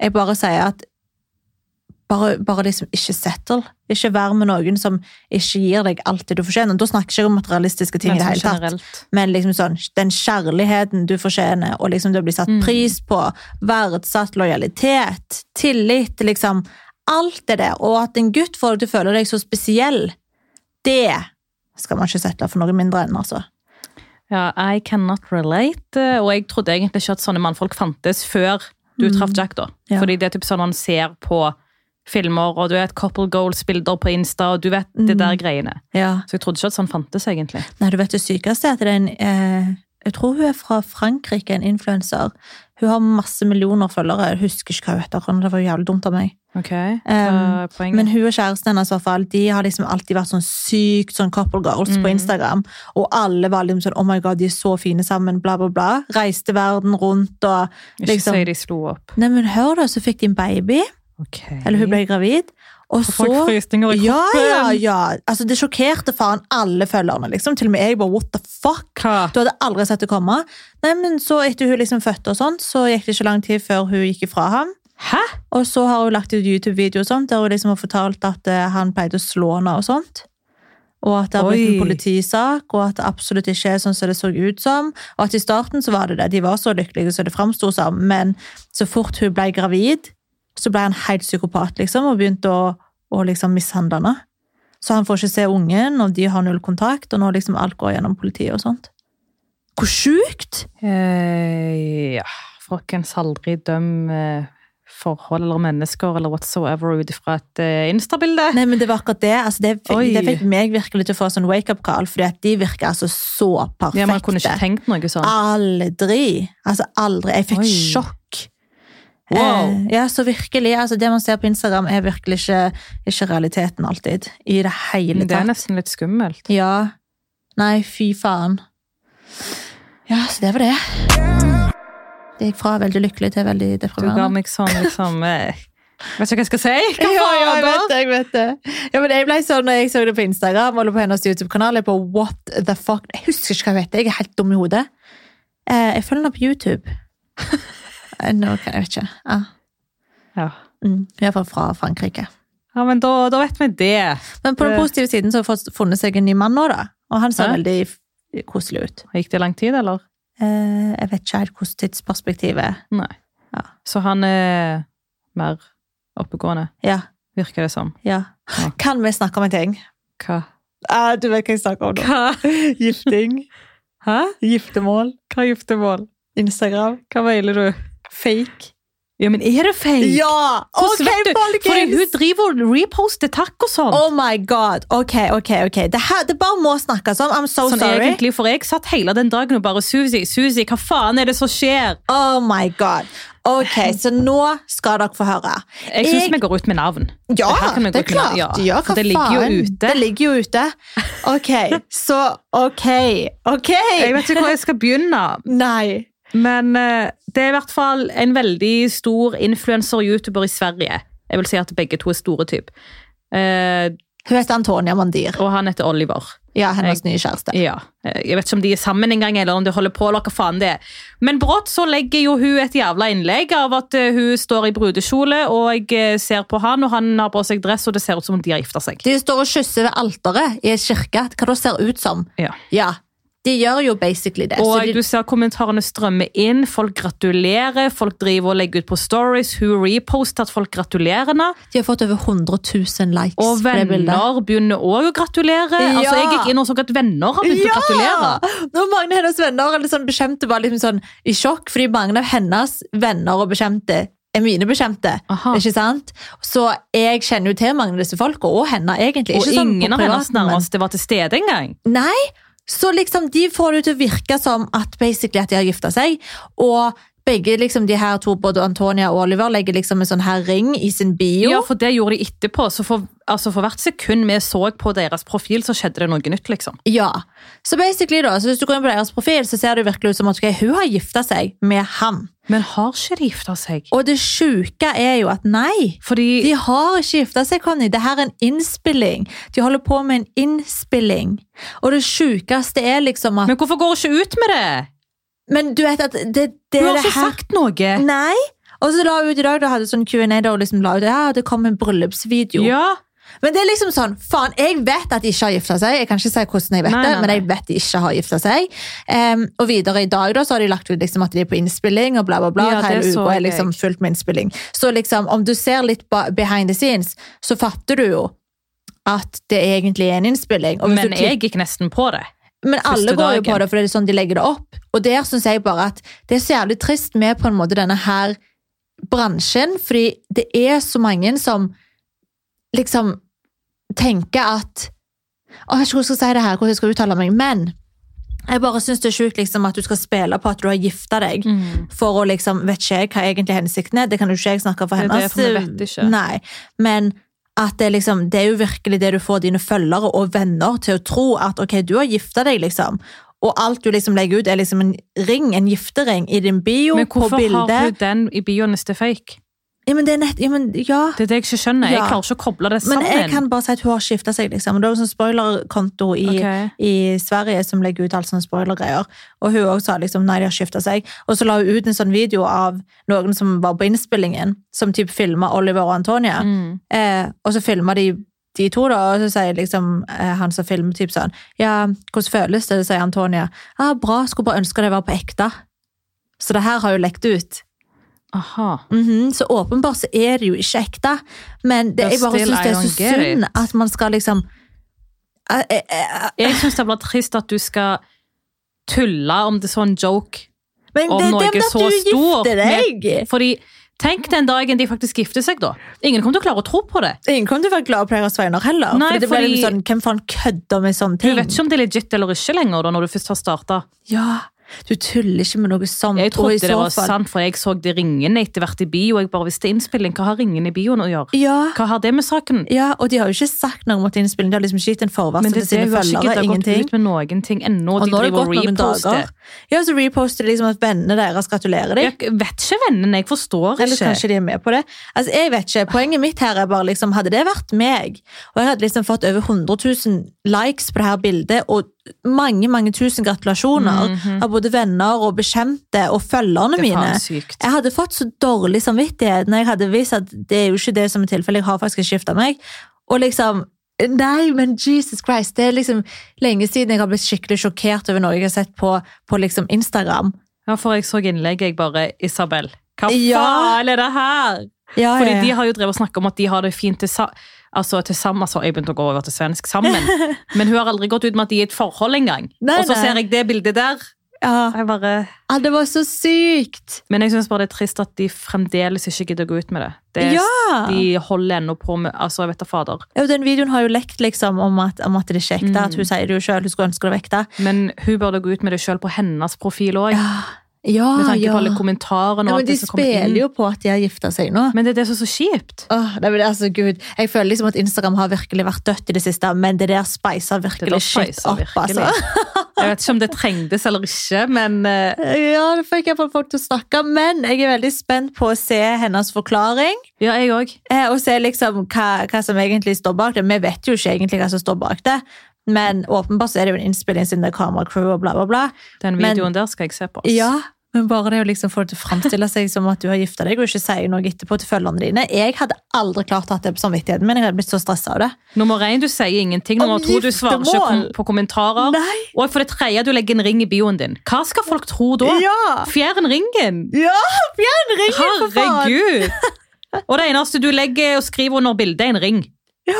Speaker 1: Jeg bare sier at bare, bare liksom ikke settle. Ikke vær med noen som ikke gir deg alt det du fortjener. Da snakker jeg ikke om materialistiske ting. i
Speaker 2: Men
Speaker 1: det
Speaker 2: sånn
Speaker 1: hele tatt.
Speaker 2: generelt.
Speaker 1: Men liksom sånn, den kjærligheten du fortjener, og liksom det å bli satt
Speaker 2: Mm.
Speaker 1: pris på, verdsatt lojalitet, tillit, liksom alt det der. Og at en gutt får deg til å føle deg så spesiell, det skal man ikke sette for noe mindre enn, altså.
Speaker 2: Ja, I cannot relate. eh, Og jeg trodde egentlig ikke at sånne mannfolk fantes før du
Speaker 1: Mm.
Speaker 2: traff Jack, da.
Speaker 1: Ja.
Speaker 2: Fordi det er typ sånn man ser på filmer, og du vet couple goals-bilder på Insta, og du vet
Speaker 1: Mm.
Speaker 2: det der greiene.
Speaker 1: Ja.
Speaker 2: Så jeg trodde ikke at sånn fantes, egentlig.
Speaker 1: Nei, du vet det sykeste er at det er en eh, Jeg tror hun er fra Frankrike, en influenser. Hun har masse millioner følgere. Jeg husker ikke hva hun heter, det var jævlig dumt av meg.
Speaker 2: Ok,
Speaker 1: Um,
Speaker 2: hva er poenget?
Speaker 1: Men hun og kjæresten hennes i hvert fall, de har liksom alltid vært sånn sykt sånn couple girls på
Speaker 2: Mhm.
Speaker 1: Instagram. Og alle var liksom sånn 'oh my god, de er så fine sammen', bla, bla, bla. Reiste verden rundt og
Speaker 2: ikke
Speaker 1: liksom
Speaker 2: si de slo opp.
Speaker 1: Nei, men hør da, så fikk de en baby,
Speaker 2: Ok.
Speaker 1: eller hun ble gravid. Og
Speaker 2: Så Mm. folk
Speaker 1: så
Speaker 2: frysninger i
Speaker 1: Ja,
Speaker 2: kroppen.
Speaker 1: ja, ja. Altså, det sjokkerte faen alle følgerne, liksom. Til og med jeg bare what the fuck?
Speaker 2: Hva?
Speaker 1: Du hadde aldri sett det komme. Nei, men så etter hun liksom fødte og sånt, så gikk det ikke lang tid før hun gikk ifra ham.
Speaker 2: Hæ?
Speaker 1: Og så har hun lagt ut YouTube-video og sånt, der hun liksom har fortalt at eh, han pleide å slå henne og sånt. Og at det har blitt en
Speaker 2: Oi.
Speaker 1: politisak, og at det absolutt ikke er sånn som det så ut som. Og at i starten så var det det, de var så lykkelige som det framsto som, men så fort hun ble gravid, så ble han helt psykopat, liksom, og begynte å, å liksom mishandle henne. Så han får ikke se ungen, og de har null kontakt, og nå liksom alt går gjennom politiet og sånt. Hvor sjukt!
Speaker 2: Eh, ja, folkens aldri døm eh, forhold eller mennesker eller whatsoever ut fra et eh, Insta-bilde.
Speaker 1: Nei, men det var akkurat det. Altså, det, fikk,
Speaker 2: Oi.
Speaker 1: det fikk meg virkelig til å få sånn wake-up-call, fordi at de virker altså så perfekte.
Speaker 2: Ja, man kunne ikke tenkt noe sånn.
Speaker 1: Aldri! Altså, aldri. Jeg fikk
Speaker 2: Oi.
Speaker 1: sjokk.
Speaker 2: Wow.
Speaker 1: Eh, ja, så virkelig. Altså, det man ser på Instagram, er virkelig ikke, ikke realiteten alltid. I det hele
Speaker 2: Det er
Speaker 1: tatt.
Speaker 2: nesten litt skummelt.
Speaker 1: Ja. Nei, fy faen. Ja, så det var det. Det gikk fra veldig lykkelig til veldig
Speaker 2: Du ga
Speaker 1: deprimerende.
Speaker 2: meg sånn liksom eh, Vet ikke hva jeg skal si. Hva
Speaker 1: Ja,
Speaker 2: faen
Speaker 1: jeg vet
Speaker 2: jeg gjør da?
Speaker 1: det, jeg vet det. Ja, men jeg ble sånn når jeg så det på Instagram eller på hennes YouTube-kanal. Jeg på what the fuck. Jeg husker ikke hva hun heter. Jeg er helt dum i hodet. Eh, Jeg følger henne på YouTube. Eh, Nå kan jeg ikke. Ja.
Speaker 2: Ja.
Speaker 1: Mm. I hvert fall fra Frankrike.
Speaker 2: ja, men da, da vet vi det.
Speaker 1: Men på den
Speaker 2: Det-
Speaker 1: positive siden så har hun fått- funnet seg en ny mann nå, da. Og han ser
Speaker 2: Hæ?
Speaker 1: veldig f- koselig ut.
Speaker 2: Gikk det lang tid, eller?
Speaker 1: Eh, Jeg vet ikke helt hvordan tidsperspektivet er.
Speaker 2: Nei.
Speaker 1: Ja.
Speaker 2: Så han er mer oppegående,
Speaker 1: Ja,
Speaker 2: virker det som.
Speaker 1: ja.
Speaker 2: Ja.
Speaker 1: Kan vi snakke om en ting?
Speaker 2: Hva?
Speaker 1: Ah, du vet hva jeg snakker om nå.
Speaker 2: Hva?
Speaker 1: Gifting.
Speaker 2: Hæ?
Speaker 1: Giftermål.
Speaker 2: Hva er giftermål?
Speaker 1: Instagram.
Speaker 2: Hva veiler du?
Speaker 1: Fake.
Speaker 2: Ja, men er det feil?
Speaker 1: Ja!
Speaker 2: Hvordan vet du? Fordi hun driver og reposter takk og sånn.
Speaker 1: Oh my god. Ok, ok, ok. Det, her, det bare må snakkes om. I'm so
Speaker 2: sånn
Speaker 1: sorry.
Speaker 2: egentlig, for jeg satt hele den dagen og bare Susi, Susi, hva faen er det som skjer?
Speaker 1: Oh my god. Ok, så nå skal dere få høre.
Speaker 2: Jeg syns
Speaker 1: Jeg-
Speaker 2: vi går ut med navn.
Speaker 1: Ja,
Speaker 2: her kan vi
Speaker 1: det er
Speaker 2: godt kunne-
Speaker 1: klart. Ja,
Speaker 2: ja,
Speaker 1: hva
Speaker 2: for det ligger jo
Speaker 1: faen?
Speaker 2: ute.
Speaker 1: Det ligger jo ute. Ok, så ok. Ok!
Speaker 2: Jeg vet ikke hvor jeg skal begynne,
Speaker 1: Nei.
Speaker 2: men eh, det er i hvert fall en veldig stor influenser og youtuber i Sverige. Jeg vil si at begge to er store typ. Eh,
Speaker 1: Hun heter Antonia Mandir.
Speaker 2: og han heter Oliver.
Speaker 1: Ja, hennes nye kjæreste.
Speaker 2: Ja. Eh, Jeg vet ikke om de er sammen engang, eller om de holder på, eller hva faen det er. Men brått så legger jo hun et jævla innlegg av at eh, hun står i brudekjole, og jeg eh, ser på han, og han har på seg dress, og det ser ut som om de har gifta seg.
Speaker 1: De står og kysser ved alteret i en kirke. Hva det ser ut som.
Speaker 2: Ja.
Speaker 1: Ja, de gjør jo basically altså, det. så
Speaker 2: Og
Speaker 1: de,
Speaker 2: du ser kommentarene strømme inn, folk gratulerer, folk driver og legger ut på stories, hun reposter at folk gratulerer henne,
Speaker 1: de har fått over 100 000 likes på
Speaker 2: og
Speaker 1: det bildet.
Speaker 2: venner begynner også å gratulere.
Speaker 1: Ja.
Speaker 2: Altså, jeg gikk inn og så at venner har begynt å gratulere.
Speaker 1: Når mange av hennes venner eller sånn bekjemte var liksom sånn i sjokk, fordi mange av hennes venner og bekjemte er mine bekjemte.
Speaker 2: Aha.
Speaker 1: Ikke sant? Så jeg kjenner jo til mange av disse folka, og henne egentlig.
Speaker 2: Og
Speaker 1: Ikke sånn på
Speaker 2: ingen av hennes
Speaker 1: privaten, men-
Speaker 2: nærmeste var til stede engang.
Speaker 1: Nei, så liksom de får det til å virke som at, basically at de har gifta seg. Og begge liksom de her to, både Antonia og Oliver, legger liksom en sånn her ring i sin bio.
Speaker 2: Ja, for det gjorde de etterpå. Så for, altså for hvert sekund vi så på deres profil, så skjedde det noe nytt, liksom.
Speaker 1: Ja. Så basically da, så hvis du går inn på deres profil, så ser det virkelig ut som at ok, hun har gifta seg med han.
Speaker 2: Men har ikke de gifta seg?
Speaker 1: Og det sjuke er jo at nei,
Speaker 2: Fordi
Speaker 1: de har ikke gifta seg, Conny. Det her er en innspilling. De holder på med en innspilling. Og det sjukeste er liksom at
Speaker 2: Men hvorfor går hun ikke ut med det?
Speaker 1: Men du vet at det, det
Speaker 2: Hun
Speaker 1: er
Speaker 2: har
Speaker 1: det
Speaker 2: ikke
Speaker 1: her
Speaker 2: sagt noe.
Speaker 1: Nei. Og så la hun ut i dag, da hadde sånn Q&A der hun liksom la ut ja, det kom en bryllupsvideo.
Speaker 2: Ja,
Speaker 1: Men det er liksom sånn, faen, jeg vet at de ikke har gifta seg. Jeg kan ikke si hvordan jeg vet
Speaker 2: Nei,
Speaker 1: det,
Speaker 2: nei,
Speaker 1: men
Speaker 2: nei.
Speaker 1: jeg vet de ikke har gifta seg. Em, og videre i dag da, så har de lagt ut liksom at de er på innspilling og bla, bla, bla.
Speaker 2: Ja,
Speaker 1: at hele
Speaker 2: det så
Speaker 1: uka er
Speaker 2: jeg.
Speaker 1: liksom fullt med innspilling. Så liksom, om du ser litt ba- behind the scenes, så fatter du jo at det egentlig er en innspilling. Og hvis
Speaker 2: men
Speaker 1: du klikker-
Speaker 2: jeg gikk nesten på det.
Speaker 1: men alle
Speaker 2: Første
Speaker 1: går jo
Speaker 2: dagen.
Speaker 1: på det, for det er sånn de legger det opp. Og der syns jeg bare at det er så jævlig trist med på en måte denne her bransjen, fordi det er så mange som liksom tenker at Å, Jeg vet ikke hvordan jeg skal si det her, hvordan jeg skal uttale meg, men jeg bare syns det er sjukt liksom, at du skal spille på at du har gifta deg.
Speaker 2: Mm.
Speaker 1: For å liksom, Vet ikke jeg hva egentlig hensikten er, det kan jo ikke jeg snakke for
Speaker 2: Det er det,
Speaker 1: hennes.
Speaker 2: for vi vet ikke.
Speaker 1: Nei, men at det, liksom, det er jo virkelig det du får dine følgere og venner til å tro at ok, du har gifta deg, liksom. Og alt du liksom legger ut, er liksom en ring, en giftering, i din bio,
Speaker 2: Men
Speaker 1: på
Speaker 2: hvorfor har
Speaker 1: bildet.
Speaker 2: hun den i bioen hvis det er fake?
Speaker 1: Ja, men det er nett... Ja, men, ja.
Speaker 2: Det er det jeg ikke skjønner. Jeg
Speaker 1: Ja.
Speaker 2: klarer ikke å koble det
Speaker 1: Men
Speaker 2: sammen.
Speaker 1: jeg kan bare si at hun har skifta seg, liksom. Og Det er jo en sånn spoilerkonto i,
Speaker 2: Ok.
Speaker 1: i Sverige som legger ut alt sånne spoilergreier. Og hun også sa liksom nei, de har skifta seg. Og så la hun ut en sånn video av noen som var på innspillingen, som typ filma Oliver og Antonia.
Speaker 2: Mm.
Speaker 1: Eh, og så filma de de to, da, og så sier liksom eh, han som filmer, typ sånn Ja, hvordan føles det, sier Antonia. Ja, bra, skulle bare ønske det var på ekte. Så det her har jo lekt ut.
Speaker 2: Aha.
Speaker 1: Mhm, så åpenbart så er det jo ikke ekte, men det,
Speaker 2: But
Speaker 1: jeg bare
Speaker 2: still,
Speaker 1: synes
Speaker 2: I
Speaker 1: det er
Speaker 2: don't
Speaker 1: så
Speaker 2: get
Speaker 1: synd
Speaker 2: it.
Speaker 1: at man skal liksom Eh, eh, eh,
Speaker 2: Jeg syns det blir trist at du skal tulle om det er sånn joke.
Speaker 1: Men
Speaker 2: Om
Speaker 1: det, det
Speaker 2: Norge
Speaker 1: er med at
Speaker 2: så
Speaker 1: du
Speaker 2: stort
Speaker 1: gifter
Speaker 2: med-
Speaker 1: deg!
Speaker 2: Fordi tenk den dagen de faktisk gifter seg, da. Ingen kommer til å klare å tro på det.
Speaker 1: Ingen kommer til å være glad på deres vegne heller.
Speaker 2: Nei,
Speaker 1: fordi det blir
Speaker 2: fordi-
Speaker 1: litt sånn, Hvem faen kødder med sånne
Speaker 2: Du
Speaker 1: ting?
Speaker 2: vet ikke om det er legit eller ikke lenger, da, når du først har starta.
Speaker 1: Ja, du tuller ikke med noe sånt.
Speaker 2: Jeg
Speaker 1: og i
Speaker 2: trodde det
Speaker 1: så
Speaker 2: var
Speaker 1: fall-
Speaker 2: sant, for jeg så de ringene etter hvert i bio. Jeg bare visste innspilling. Hva har ringene i bioen å gjøre?
Speaker 1: Ja,
Speaker 2: Hva har det med saken?
Speaker 1: ja, og de har jo ikke sagt noe om at innspillingen. De har liksom ikke gitt en forvarsel
Speaker 2: Men det
Speaker 1: til
Speaker 2: er det
Speaker 1: sine
Speaker 2: hun har ikke
Speaker 1: følgere.
Speaker 2: giddet å gått
Speaker 1: Ingenting.
Speaker 2: ut med noen ting ennå.
Speaker 1: Og
Speaker 2: De
Speaker 1: nå har det
Speaker 2: driver
Speaker 1: gått
Speaker 2: og
Speaker 1: noen
Speaker 2: reposter.
Speaker 1: dager. Ja, så reposter de liksom at vennene deres gratulerer dem.
Speaker 2: Jeg vet ikke vennene, jeg forstår
Speaker 1: Eller
Speaker 2: ikke.
Speaker 1: kanskje de er med på det. Altså, jeg vet ikke, Poenget mitt her er bare liksom, hadde det vært meg, og jeg hadde liksom fått over 100 000 likes på det her bildet, og mange mange tusen gratulasjoner
Speaker 2: Mhm.
Speaker 1: av både venner og bekjente og følgerne
Speaker 2: Det er
Speaker 1: mine
Speaker 2: faen sykt.
Speaker 1: Jeg hadde fått så dårlig samvittighet når jeg hadde vist at det er jo ikke det som er tilfellet, jeg har faktisk skifta meg. Og liksom Nei, men Jesus Christ, det er liksom lenge siden jeg har blitt skikkelig sjokkert over noe jeg har sett på, på liksom Instagram.
Speaker 2: Ja, for jeg så innlegget, jeg bare Isabel, hva
Speaker 1: Ja.
Speaker 2: faen er det her?
Speaker 1: Ja,
Speaker 2: Fordi
Speaker 1: ja, ja.
Speaker 2: de har jo drevet og snakket om at de har det fint til sa- Altså til sammen, så har jeg begynt å gå over til svensk sammen. Men hun har aldri gått ut med at de er i et forhold engang.
Speaker 1: Nei,
Speaker 2: Og så
Speaker 1: nei.
Speaker 2: ser jeg det bildet der.
Speaker 1: ja.
Speaker 2: Jeg bare...
Speaker 1: ja, det var så sykt!
Speaker 2: Men jeg syns bare det er trist at de fremdeles ikke gidder å gå ut med det. det er,
Speaker 1: Ja!
Speaker 2: De holder ennå på med Altså, jeg vet da fader.
Speaker 1: Ja, og den videoen har jo lekt liksom om at, om at det ikke er ekte.
Speaker 2: Mm.
Speaker 1: At hun sier det jo sjøl, hun skulle ønske det var ekte.
Speaker 2: Men hun burde gå ut med det sjøl på hennes profil òg.
Speaker 1: Ja, ja.
Speaker 2: Med tanke
Speaker 1: ja.
Speaker 2: på alle kommentarene
Speaker 1: ja men
Speaker 2: og alt
Speaker 1: de
Speaker 2: det som kommer
Speaker 1: spiller
Speaker 2: inn.
Speaker 1: jo på at de har gifta seg nå.
Speaker 2: Men det er det som er så kjipt.
Speaker 1: Åh, nei, men altså, Gud. Jeg føler liksom at Instagram har virkelig vært dødt i det siste, men det der spicer
Speaker 2: Det der
Speaker 1: virkelig shit
Speaker 2: spiser
Speaker 1: opp.
Speaker 2: virkelig.
Speaker 1: Altså.
Speaker 2: Jeg vet ikke om det trengtes eller ikke, men eh,
Speaker 1: Ja, det fikk jeg fått folk til å snakke, men jeg er veldig spent på å se hennes forklaring.
Speaker 2: ja, jeg òg.
Speaker 1: Eh, og se liksom hva, hva som egentlig står bak det. Vi vet jo ikke egentlig hva som står bak det, men åpenbart så er det jo en innspilling siden det er kameracrew og bla, bla, bla.
Speaker 2: Den
Speaker 1: Men-
Speaker 2: videoen der skal jeg se på. altså. ass.
Speaker 1: Ja, men bare det å liksom få det til å framstille seg som at du har gifta deg, og ikke si noe etterpå til følgerne dine. Jeg hadde aldri klart å ha det på samvittigheten min. Jeg hadde blitt så stressa av det.
Speaker 2: Nummer én, du sier ingenting. Nummer
Speaker 1: Om
Speaker 2: to, du svarer ikke
Speaker 1: giftermål.
Speaker 2: kom- på kommentarer.
Speaker 1: Nei!
Speaker 2: Og for det tredje, du legger en ring i bioen din. Hva skal folk tro da?
Speaker 1: Ja!
Speaker 2: Fjern ringen!
Speaker 1: Ja, Fjern ringen, for faen!
Speaker 2: Herregud! Og det eneste du legger og skriver under bildet, er en ring. Du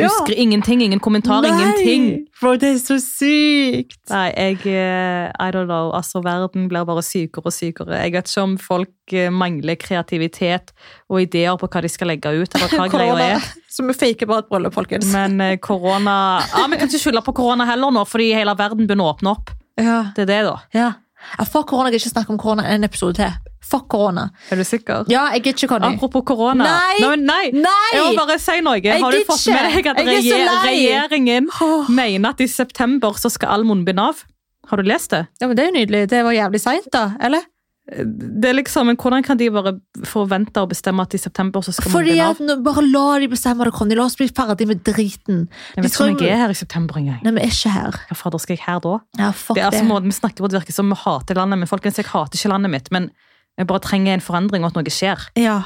Speaker 1: Ja.
Speaker 2: skri- ingenting, ingen kommentar, ingenting.
Speaker 1: Nei, for det er så sykt!
Speaker 2: Nei, jeg eh, I don't know. Altså, verden blir bare sykere og sykere. Jeg vet ikke om folk eh, mangler kreativitet og ideer på hva de skal legge ut, eller hva greia
Speaker 1: Korona.
Speaker 2: er.
Speaker 1: Så vi faker bare et bryllup, folkens.
Speaker 2: Men eh, korona Ja, Vi kan ikke skylde på korona heller nå, fordi hele verden begynner å åpne opp.
Speaker 1: Ja.
Speaker 2: Det er det, da.
Speaker 1: ja. ja fuck korona. Jeg kan ikke snakke om korona en episode til. Fuck korona.
Speaker 2: Er du sikker?
Speaker 1: Ja, jeg gidder ikke Conny.
Speaker 2: Apropos korona.
Speaker 1: Nei!
Speaker 2: Nei, men nei.
Speaker 1: Nei!
Speaker 2: Jeg må bare si noe. Har du
Speaker 1: gidder
Speaker 2: fått med
Speaker 1: ikke.
Speaker 2: deg at
Speaker 1: Jeg er så
Speaker 2: regjeringen,
Speaker 1: lei.
Speaker 2: regjeringen
Speaker 1: Åh.
Speaker 2: mener at i september så skal all munnbind av? Har du lest det?
Speaker 1: Ja, men Det er jo nydelig. Det var jævlig seint, da. Eller?
Speaker 2: det er liksom, men Hvordan kan de bare forvente og bestemme at i september så skal
Speaker 1: Fordi
Speaker 2: munnbind
Speaker 1: at
Speaker 2: av?
Speaker 1: nå- Bare la de bestemme det, Conny. La oss bli ferdig med driten.
Speaker 2: Jeg vet ikke om jeg er her i september engang.
Speaker 1: Nei, vi er ikke her.
Speaker 2: Hva fader skal jeg her da?
Speaker 1: Ja, fuck
Speaker 2: Det
Speaker 1: det.
Speaker 2: er altså måten Vi snakker på det virker som vi hater landet, men folkens, jeg hater ikke landet mitt. Men jeg bare trenger en forandring og at noe skjer.
Speaker 1: Ja,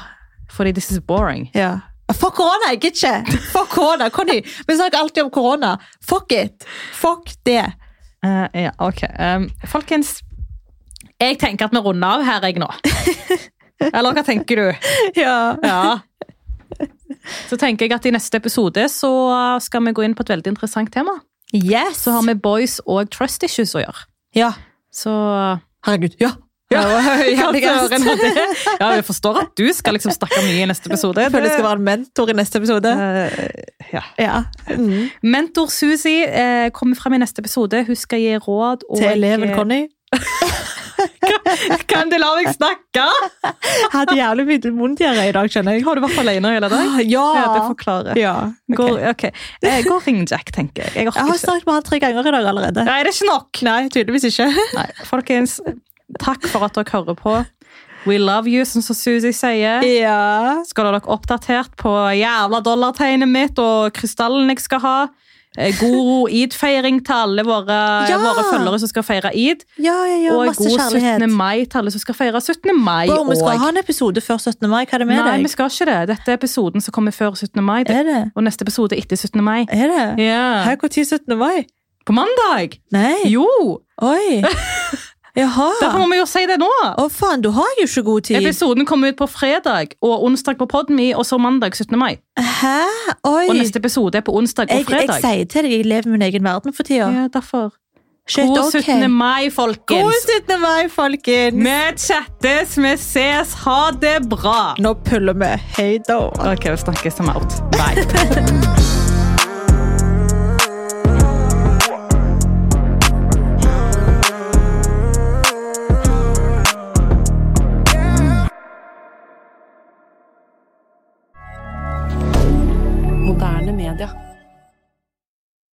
Speaker 2: Fordi this is boring.
Speaker 1: ja. Fuck korona, jeg gidder ikke! Fuck korona, Conny! Vi snakker alltid om korona. Fuck it! Fuck det.
Speaker 2: Eh, ja, ok. Um, folkens, jeg tenker at vi runder av her, jeg nå. Eller hva tenker du?
Speaker 1: Ja.
Speaker 2: Ja. Så tenker jeg at i neste episode så skal vi gå inn på et veldig interessant tema.
Speaker 1: Yes!
Speaker 2: Så har vi boys og trust issues å gjøre.
Speaker 1: Ja.
Speaker 2: Så
Speaker 1: Herregud. Ja!
Speaker 2: Ja,
Speaker 1: kan
Speaker 2: jeg
Speaker 1: høre en av
Speaker 2: ja, jeg forstår at du skal liksom snakke mye i neste episode.
Speaker 1: Jeg føler jeg skal være en mentor i neste episode.
Speaker 2: Eh, ja.
Speaker 1: Ja. Mm.
Speaker 2: Mentor Susi eh, kommer frem i neste episode. Hun skal gi råd. og-
Speaker 1: Til eleven Conny.
Speaker 2: Kan du la meg snakke?!
Speaker 1: Jeg hadde jævlig mye vondtgjøre i dag, skjønner jeg.
Speaker 2: Har du vært alene hele dagen?
Speaker 1: Ah, Ja!
Speaker 2: Ja, det forklarer.
Speaker 1: ja. ok.
Speaker 2: Gå, ok. eh, gå og ring Jack, tenker jeg. Jeg
Speaker 1: Jeg
Speaker 2: orker
Speaker 1: har
Speaker 2: ikke.
Speaker 1: snakket med han tre ganger i dag allerede.
Speaker 2: Nei, det er ikke nok!
Speaker 1: Nei, tydeligvis ikke.
Speaker 2: Nei, folkens, takk for at dere hører på. We love you, som så Suzy sier.
Speaker 1: Ja.
Speaker 2: Skal holde dere oppdatert på jævla dollartegnet mitt og krystallen jeg skal ha. Eh, God id-feiring til alle våre,
Speaker 1: Ja!
Speaker 2: våre følgere som skal feire id.
Speaker 1: Ja, ja, ja.
Speaker 2: og
Speaker 1: Masse
Speaker 2: god 17.
Speaker 1: kjærlighet.
Speaker 2: mai til alle som skal feire 17. mai.
Speaker 1: Bro, vi skal
Speaker 2: og-
Speaker 1: ha en episode før 17. mai. Hva er det med
Speaker 2: Nei, vi
Speaker 1: deg? Eh.
Speaker 2: skal ikke det. Dette er episoden som kommer før 17. mai. Det,
Speaker 1: Er det?
Speaker 2: og neste episode etter 17. mai.
Speaker 1: Er det?
Speaker 2: Ja.
Speaker 1: Her, når 17. mai?
Speaker 2: På mandag!
Speaker 1: Nei.
Speaker 2: Jo!
Speaker 1: Oi.
Speaker 2: Derfor
Speaker 1: Jaha.
Speaker 2: må vi jo si det nå.
Speaker 1: Å, faen, du har jo ikke god tid.
Speaker 2: Episoden kommer ut på fredag og onsdag på Podme, og så mandag 17. mai.
Speaker 1: Hæ? Oi.
Speaker 2: Og neste episode er på onsdag og
Speaker 1: jeg, jeg
Speaker 2: fredag.
Speaker 1: sier til deg, jeg lever min egen verden for tida.
Speaker 2: Ja, derfor.
Speaker 1: Shit,
Speaker 2: God
Speaker 1: ok.
Speaker 2: 17. mai,
Speaker 1: God
Speaker 2: folkens!
Speaker 1: 17. mai, folkens!
Speaker 2: Vi chattes, vi ses, ha det bra!
Speaker 1: Nå puller vi. Hei da.
Speaker 2: Ok, vi snakkes om out. Bye.
Speaker 3: Moderne media.